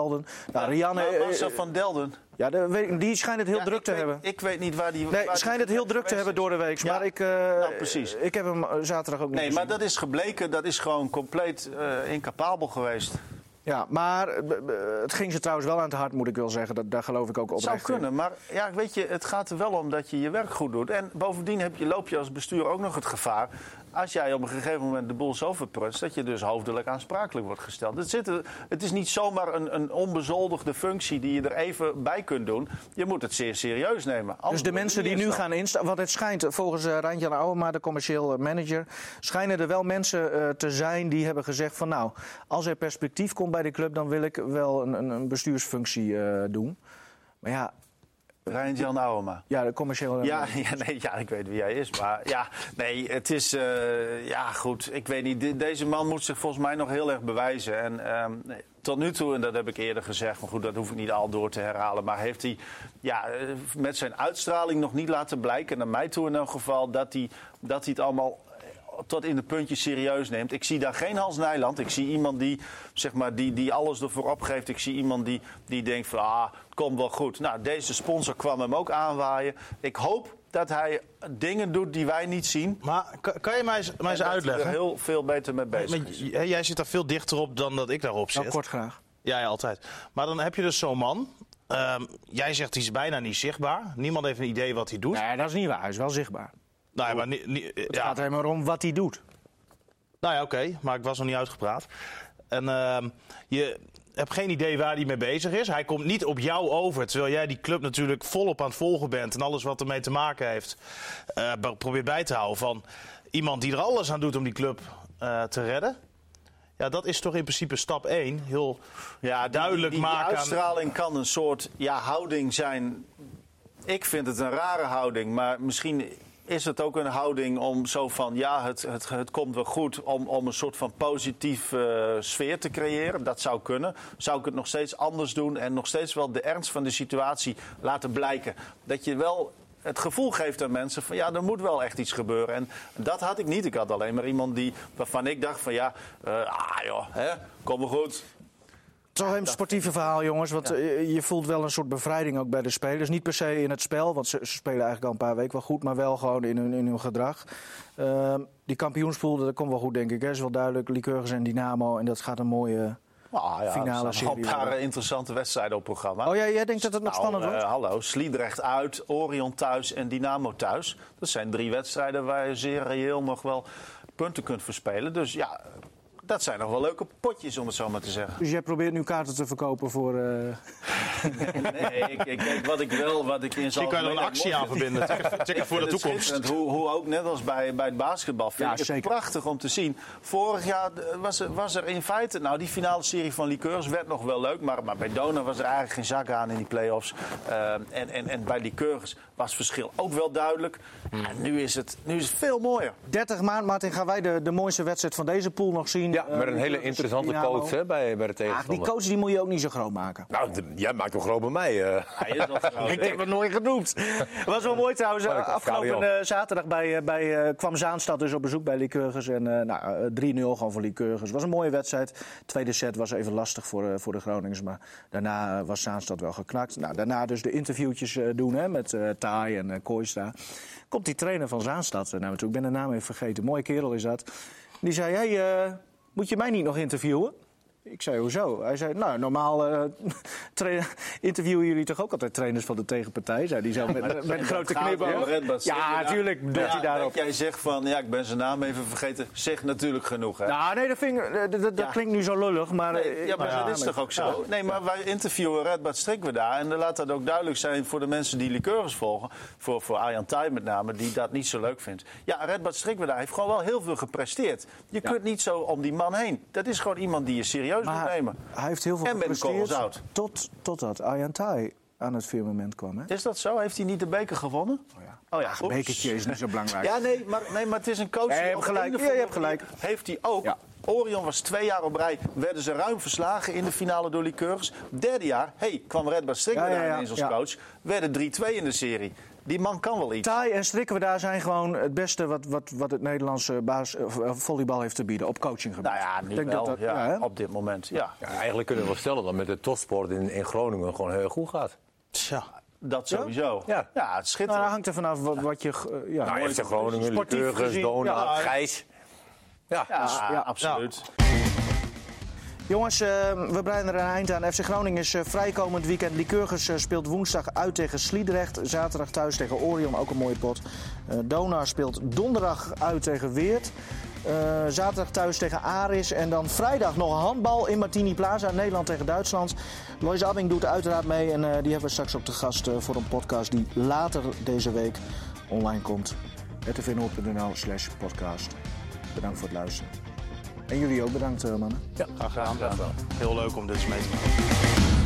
Speaker 2: Nou, Rianne,
Speaker 4: Maar
Speaker 2: eh,
Speaker 4: Marcel van Delden.
Speaker 2: ja, de- weet ik- die schijnt het heel
Speaker 4: Ja,
Speaker 2: druk
Speaker 4: ik
Speaker 2: te
Speaker 4: weet-
Speaker 2: hebben.
Speaker 4: Ik weet niet waar die. waar
Speaker 2: Nee,
Speaker 4: die
Speaker 2: schijnt het heel druk te
Speaker 4: geweest
Speaker 2: hebben
Speaker 4: is.
Speaker 2: door de week.
Speaker 4: Ja.
Speaker 2: Maar ik, eh,
Speaker 4: Nou, precies.
Speaker 2: ik heb hem eh, zaterdag ook niet
Speaker 4: Nee,
Speaker 2: gezien.
Speaker 4: maar dat is gebleken. Dat is gewoon compleet eh, incapabel geweest.
Speaker 2: Ja, maar eh, b- b- het ging ze trouwens wel aan het hart, moet ik wel zeggen. Dat, daar geloof ik ook
Speaker 4: Het zou
Speaker 2: oprecht in.
Speaker 4: kunnen, maar ja, weet je, het gaat er wel om dat je je werk goed doet. En bovendien heb je, loop je als bestuur ook nog het gevaar... als jij op een gegeven moment de boel zo verprutst... dat je dus hoofdelijk aansprakelijk wordt gesteld. Het, zit er- het is niet zomaar een, een onbezoldigde functie die je er even bij kunt doen. Je moet het zeer serieus nemen.
Speaker 2: Dus
Speaker 4: Anders
Speaker 2: de
Speaker 4: wordt het
Speaker 2: mensen
Speaker 4: niet
Speaker 2: die nu
Speaker 4: eerst dan.
Speaker 2: gaan instaan... Want het schijnt, eh, volgens uh, Randjan Ouwema, de commercieel eh, manager... schijnen er wel mensen eh, te zijn die hebben gezegd van... nou, als er perspectief komt bij de club... dan wil ik wel een, een, een bestuursfunctie eh, doen. Maar ja,
Speaker 4: Rijn-Jan Ouwema.
Speaker 2: ja de commercieel... eh,
Speaker 4: Ja, ja, nee, ja, ik weet wie jij is. Maar ja, nee, het is. eh, ja, goed. Ik weet niet. de- deze man moet zich volgens mij nog heel erg bewijzen. En ehm, nee, tot nu toe, en dat heb ik eerder gezegd, maar goed, dat hoef ik niet al door te herhalen. Maar heeft hij ja, eh, met zijn uitstraling nog niet laten blijken, naar mij toe in elk geval, dat hij, dat hij het allemaal tot in de puntjes serieus neemt. Ik zie daar geen Hans Nijland. Ik zie iemand die, zeg maar, die, die alles ervoor opgeeft. Ik zie iemand die, die denkt van, ah, het komt wel goed. Nou, deze sponsor kwam hem ook aanwaaien. Ik hoop dat hij dingen doet die wij niet zien.
Speaker 6: Maar ka- kan je mij eens, mij
Speaker 4: En
Speaker 6: eens
Speaker 4: dat hij
Speaker 6: uitleggen?
Speaker 4: er heel veel beter mee bezig
Speaker 6: Maar
Speaker 4: is.
Speaker 6: j- hè, jij zit daar veel dichter op dan dat ik daarop
Speaker 2: Nou,
Speaker 6: zit.
Speaker 2: kort graag.
Speaker 6: Ja, ja, altijd. Maar dan heb je dus zo'n man. Ehm, jij zegt hij is bijna niet zichtbaar. Niemand heeft een idee wat hij doet.
Speaker 2: Nee, dat is niet waar. Hij is wel zichtbaar.
Speaker 6: Nou ja, maar ni- ni-
Speaker 2: Het
Speaker 6: ja.
Speaker 2: gaat er maar om wat hij doet.
Speaker 6: Nou ja, oké, maar ik was nog niet uitgepraat. En ehm, je, heb geen idee waar hij mee bezig is. Hij komt niet op jou over. Terwijl jij die club natuurlijk volop aan het volgen bent. En alles wat ermee te maken heeft. eh, be- probeert bij te houden van iemand die er alles aan doet om die club eh, te redden. Ja, dat is toch in principe stap 1. Heel
Speaker 4: Ja, die-
Speaker 6: duidelijk
Speaker 4: die, die
Speaker 6: maken aan-
Speaker 4: uitstraling kan een soort ja, houding zijn. Ik vind het een rare houding, maar misschien is het ook een houding om zo van ja, het, het, het komt wel goed om, om een soort van positieve eh, sfeer te creëren. Dat zou kunnen. Zou ik het nog steeds anders doen en nog steeds wel de ernst van de situatie laten blijken? Dat je wel het gevoel geeft aan mensen van ja, er moet wel echt iets gebeuren. En dat had ik niet. Ik had alleen maar iemand die, waarvan ik dacht van ja, eh, ah joh, hè, kom maar goed.
Speaker 2: Het is wel een sportieve verhaal, jongens. Want eh, je voelt wel een soort bevrijding ook bij de spelers. Niet per se in het spel, want ze, ze spelen eigenlijk al een paar weken wel goed. Maar wel gewoon in hun, in hun gedrag. Ehm, die kampioenspool, dat komt wel goed, denk ik. Hè. Is wel duidelijk, Lycurgus en Dynamo. En dat gaat een mooie...
Speaker 4: Nou ja,
Speaker 2: Finale
Speaker 4: er staan nog
Speaker 2: serie,
Speaker 4: een paar
Speaker 2: ja.
Speaker 4: eh, interessante wedstrijden op programma.
Speaker 2: Oh ja, jij denkt dat het nog
Speaker 4: Nou,
Speaker 2: spannend
Speaker 4: eh,
Speaker 2: wordt?
Speaker 4: hallo, Sliedrecht uit, Orion thuis en Dynamo thuis. Dat zijn drie wedstrijden waar je zeer reëel nog wel punten kunt verspelen. Dus ja, dat zijn nog wel leuke potjes, om het zo maar te zeggen.
Speaker 2: Dus jij probeert nu kaarten te verkopen voor... eh,
Speaker 4: Nee, ik, ik, ik- wat ik wel, wat ik in
Speaker 6: Misschien
Speaker 4: zijn
Speaker 6: kan je er een actie aan verbinden. Tikken- Tikken voor de
Speaker 4: vind het
Speaker 6: toekomst.
Speaker 4: schitterend Hoe, hoe ook, net als bij, bij het basketbal, vind
Speaker 2: Ja,
Speaker 4: ik het
Speaker 2: zeker.
Speaker 4: prachtig om te zien. Vorig jaar eh, was er, was er in feite... Nou, die finale serie van Liqueurs werd nog wel leuk... maar, maar bij Dona was er eigenlijk geen zak aan in die play-offs. Eh, en, en, en bij Liqueurs was het verschil ook wel duidelijk.
Speaker 6: Hmm.
Speaker 4: En nu is, het, nu is het veel mooier.
Speaker 2: 30 maart, Martin, gaan wij de, de mooiste wedstrijd van deze pool nog zien.
Speaker 5: Ja,
Speaker 2: Eh,
Speaker 5: met een hele
Speaker 2: Lycurgus,
Speaker 5: interessante
Speaker 2: Dynamo.
Speaker 5: coach hè, bij, bij de
Speaker 2: Ach, nou. die
Speaker 5: tegenstander.
Speaker 2: coach die moet je ook niet zo groot maken.
Speaker 5: Nou, d- jij maakt hem groot bij mij. eh.
Speaker 4: Hij is al groot.
Speaker 2: Ik heb het nooit genoemd. Het was wel mooi trouwens.
Speaker 5: Maar ik-
Speaker 2: Afgelopen
Speaker 5: Karian.
Speaker 2: eh, zaterdag bij, eh, bij, eh, kwam Zaanstad dus op bezoek bij Lycurgus. En eh, nou, eh, 3-0 gewoon voor Lycurgus. was een mooie wedstrijd. Tweede set was even lastig voor, eh, voor de Groningers. Maar daarna eh, was Zaanstad wel geknakt. Nou, daarna dus de interviewtjes eh, doen hè, met eh Taai en eh Kooistra. Komt die trainer van Zaanstad eh, naar me toe. Ik ben de naam even vergeten. Mooie kerel is dat. Die zei, hey, eh, moet je mij niet nog interviewen? Ik zei, hoezo? Hij zei, nou, normaal eh, tra- interviewen jullie toch ook altijd trainers van de tegenpartij? Zei die zo met, met een grote
Speaker 4: gaat om Red
Speaker 2: knipoog.
Speaker 4: Bull City,
Speaker 2: Ja, natuurlijk doet
Speaker 4: Maar ja,
Speaker 2: hij daarop.
Speaker 4: Dat jij zegt van, ja, ik ben zijn naam even vergeten. Zeg natuurlijk genoeg, hè.
Speaker 2: Nou, nee, dat, vind ik- eh, dat- dat
Speaker 4: Ja.
Speaker 2: klinkt nu zo lullig, maar... eh,
Speaker 4: Ja, maar
Speaker 2: nou
Speaker 4: dat is toch ook zo? Nee, maar wij interviewen Redbert Strikweda. En dan laat dat ook duidelijk zijn voor de mensen die liqueurs volgen. Voor, voor Arjan Tij met name, die dat niet zo leuk vindt. Ja, Redbert Strikweda heeft gewoon wel heel veel gepresteerd. Je kunt niet zo om die man heen. Dat is gewoon iemand die je serieus
Speaker 2: maar
Speaker 4: moet nemen.
Speaker 2: hij heeft heel veel
Speaker 4: En met de
Speaker 2: gepresteerd
Speaker 4: korrels oud.
Speaker 2: tot, totdat Arjan Thaai aan het firmament kwam. Hè?
Speaker 4: Is dat zo? Heeft hij niet de beker gewonnen?
Speaker 2: Oh
Speaker 4: ja,
Speaker 2: Ach,
Speaker 4: oeps.
Speaker 2: bekertje is niet zo belangrijk.
Speaker 4: Ja, nee maar, nee, maar het is een coach.
Speaker 2: Ja, je
Speaker 4: die
Speaker 2: hebt
Speaker 4: op een
Speaker 2: gelijk.
Speaker 4: of
Speaker 2: Ja, je
Speaker 4: andere
Speaker 2: hebt gelijk.
Speaker 4: manier Heeft hij ook.
Speaker 2: Ja.
Speaker 4: Orion was twee jaar op rij, werden ze ruim verslagen in de finale door Liqueurs. Derde jaar, hey, kwam Redbert Strikker
Speaker 2: Ja, ja, ja,
Speaker 4: ineens als
Speaker 2: ja.
Speaker 4: coach. Werden 3-2 in de serie. Die man kan wel iets.
Speaker 2: Taai en Strikken we daar zijn gewoon het beste wat, wat, wat het Nederlandse baas, eh, volleybal heeft te bieden op coachinggebied.
Speaker 4: nou ja,
Speaker 2: Ik
Speaker 4: nu
Speaker 2: denk
Speaker 4: wel,
Speaker 2: dat dat-
Speaker 4: ja,
Speaker 2: ja, hè?
Speaker 4: op dit moment. Ja,
Speaker 5: Ja, eigenlijk kunnen we wel stellen dat met de topsport in, in Groningen gewoon heel erg goed gaat.
Speaker 4: dat sowieso.
Speaker 5: Ja.
Speaker 4: het is
Speaker 2: Nou,
Speaker 4: schitterend.
Speaker 2: dat hangt er vanaf wat, wat je... ge- eh, ja.
Speaker 5: Nou, FC Groningen,
Speaker 2: Sportief
Speaker 5: Lycurgus,
Speaker 2: gezien,
Speaker 5: Donar,
Speaker 2: ja.
Speaker 5: Gijs. Ja,
Speaker 4: ja,
Speaker 2: ja.
Speaker 4: absoluut.
Speaker 2: Jongens, eh, we breiden er een eind aan. FC Groningen is eh, vrijkomend weekend. Lycurgus eh, speelt woensdag uit tegen Sliedrecht. Zaterdag thuis tegen Orion, ook een mooie pot. Eh Donar speelt donderdag uit tegen Weert. Eh, zaterdag thuis tegen Aris. En dan vrijdag nog handbal in Martini Plaza. Nederland tegen Duitsland. Lois Abbing doet uiteraard mee. En eh, die hebben we straks op de gast eh, voor een podcast die later deze week online komt. rtvnoord.nl slash podcast. Bedankt voor het luisteren. En jullie ook bedankt, eh, mannen.
Speaker 6: Graag gedaan. Heel leuk om dit eens mee te maken.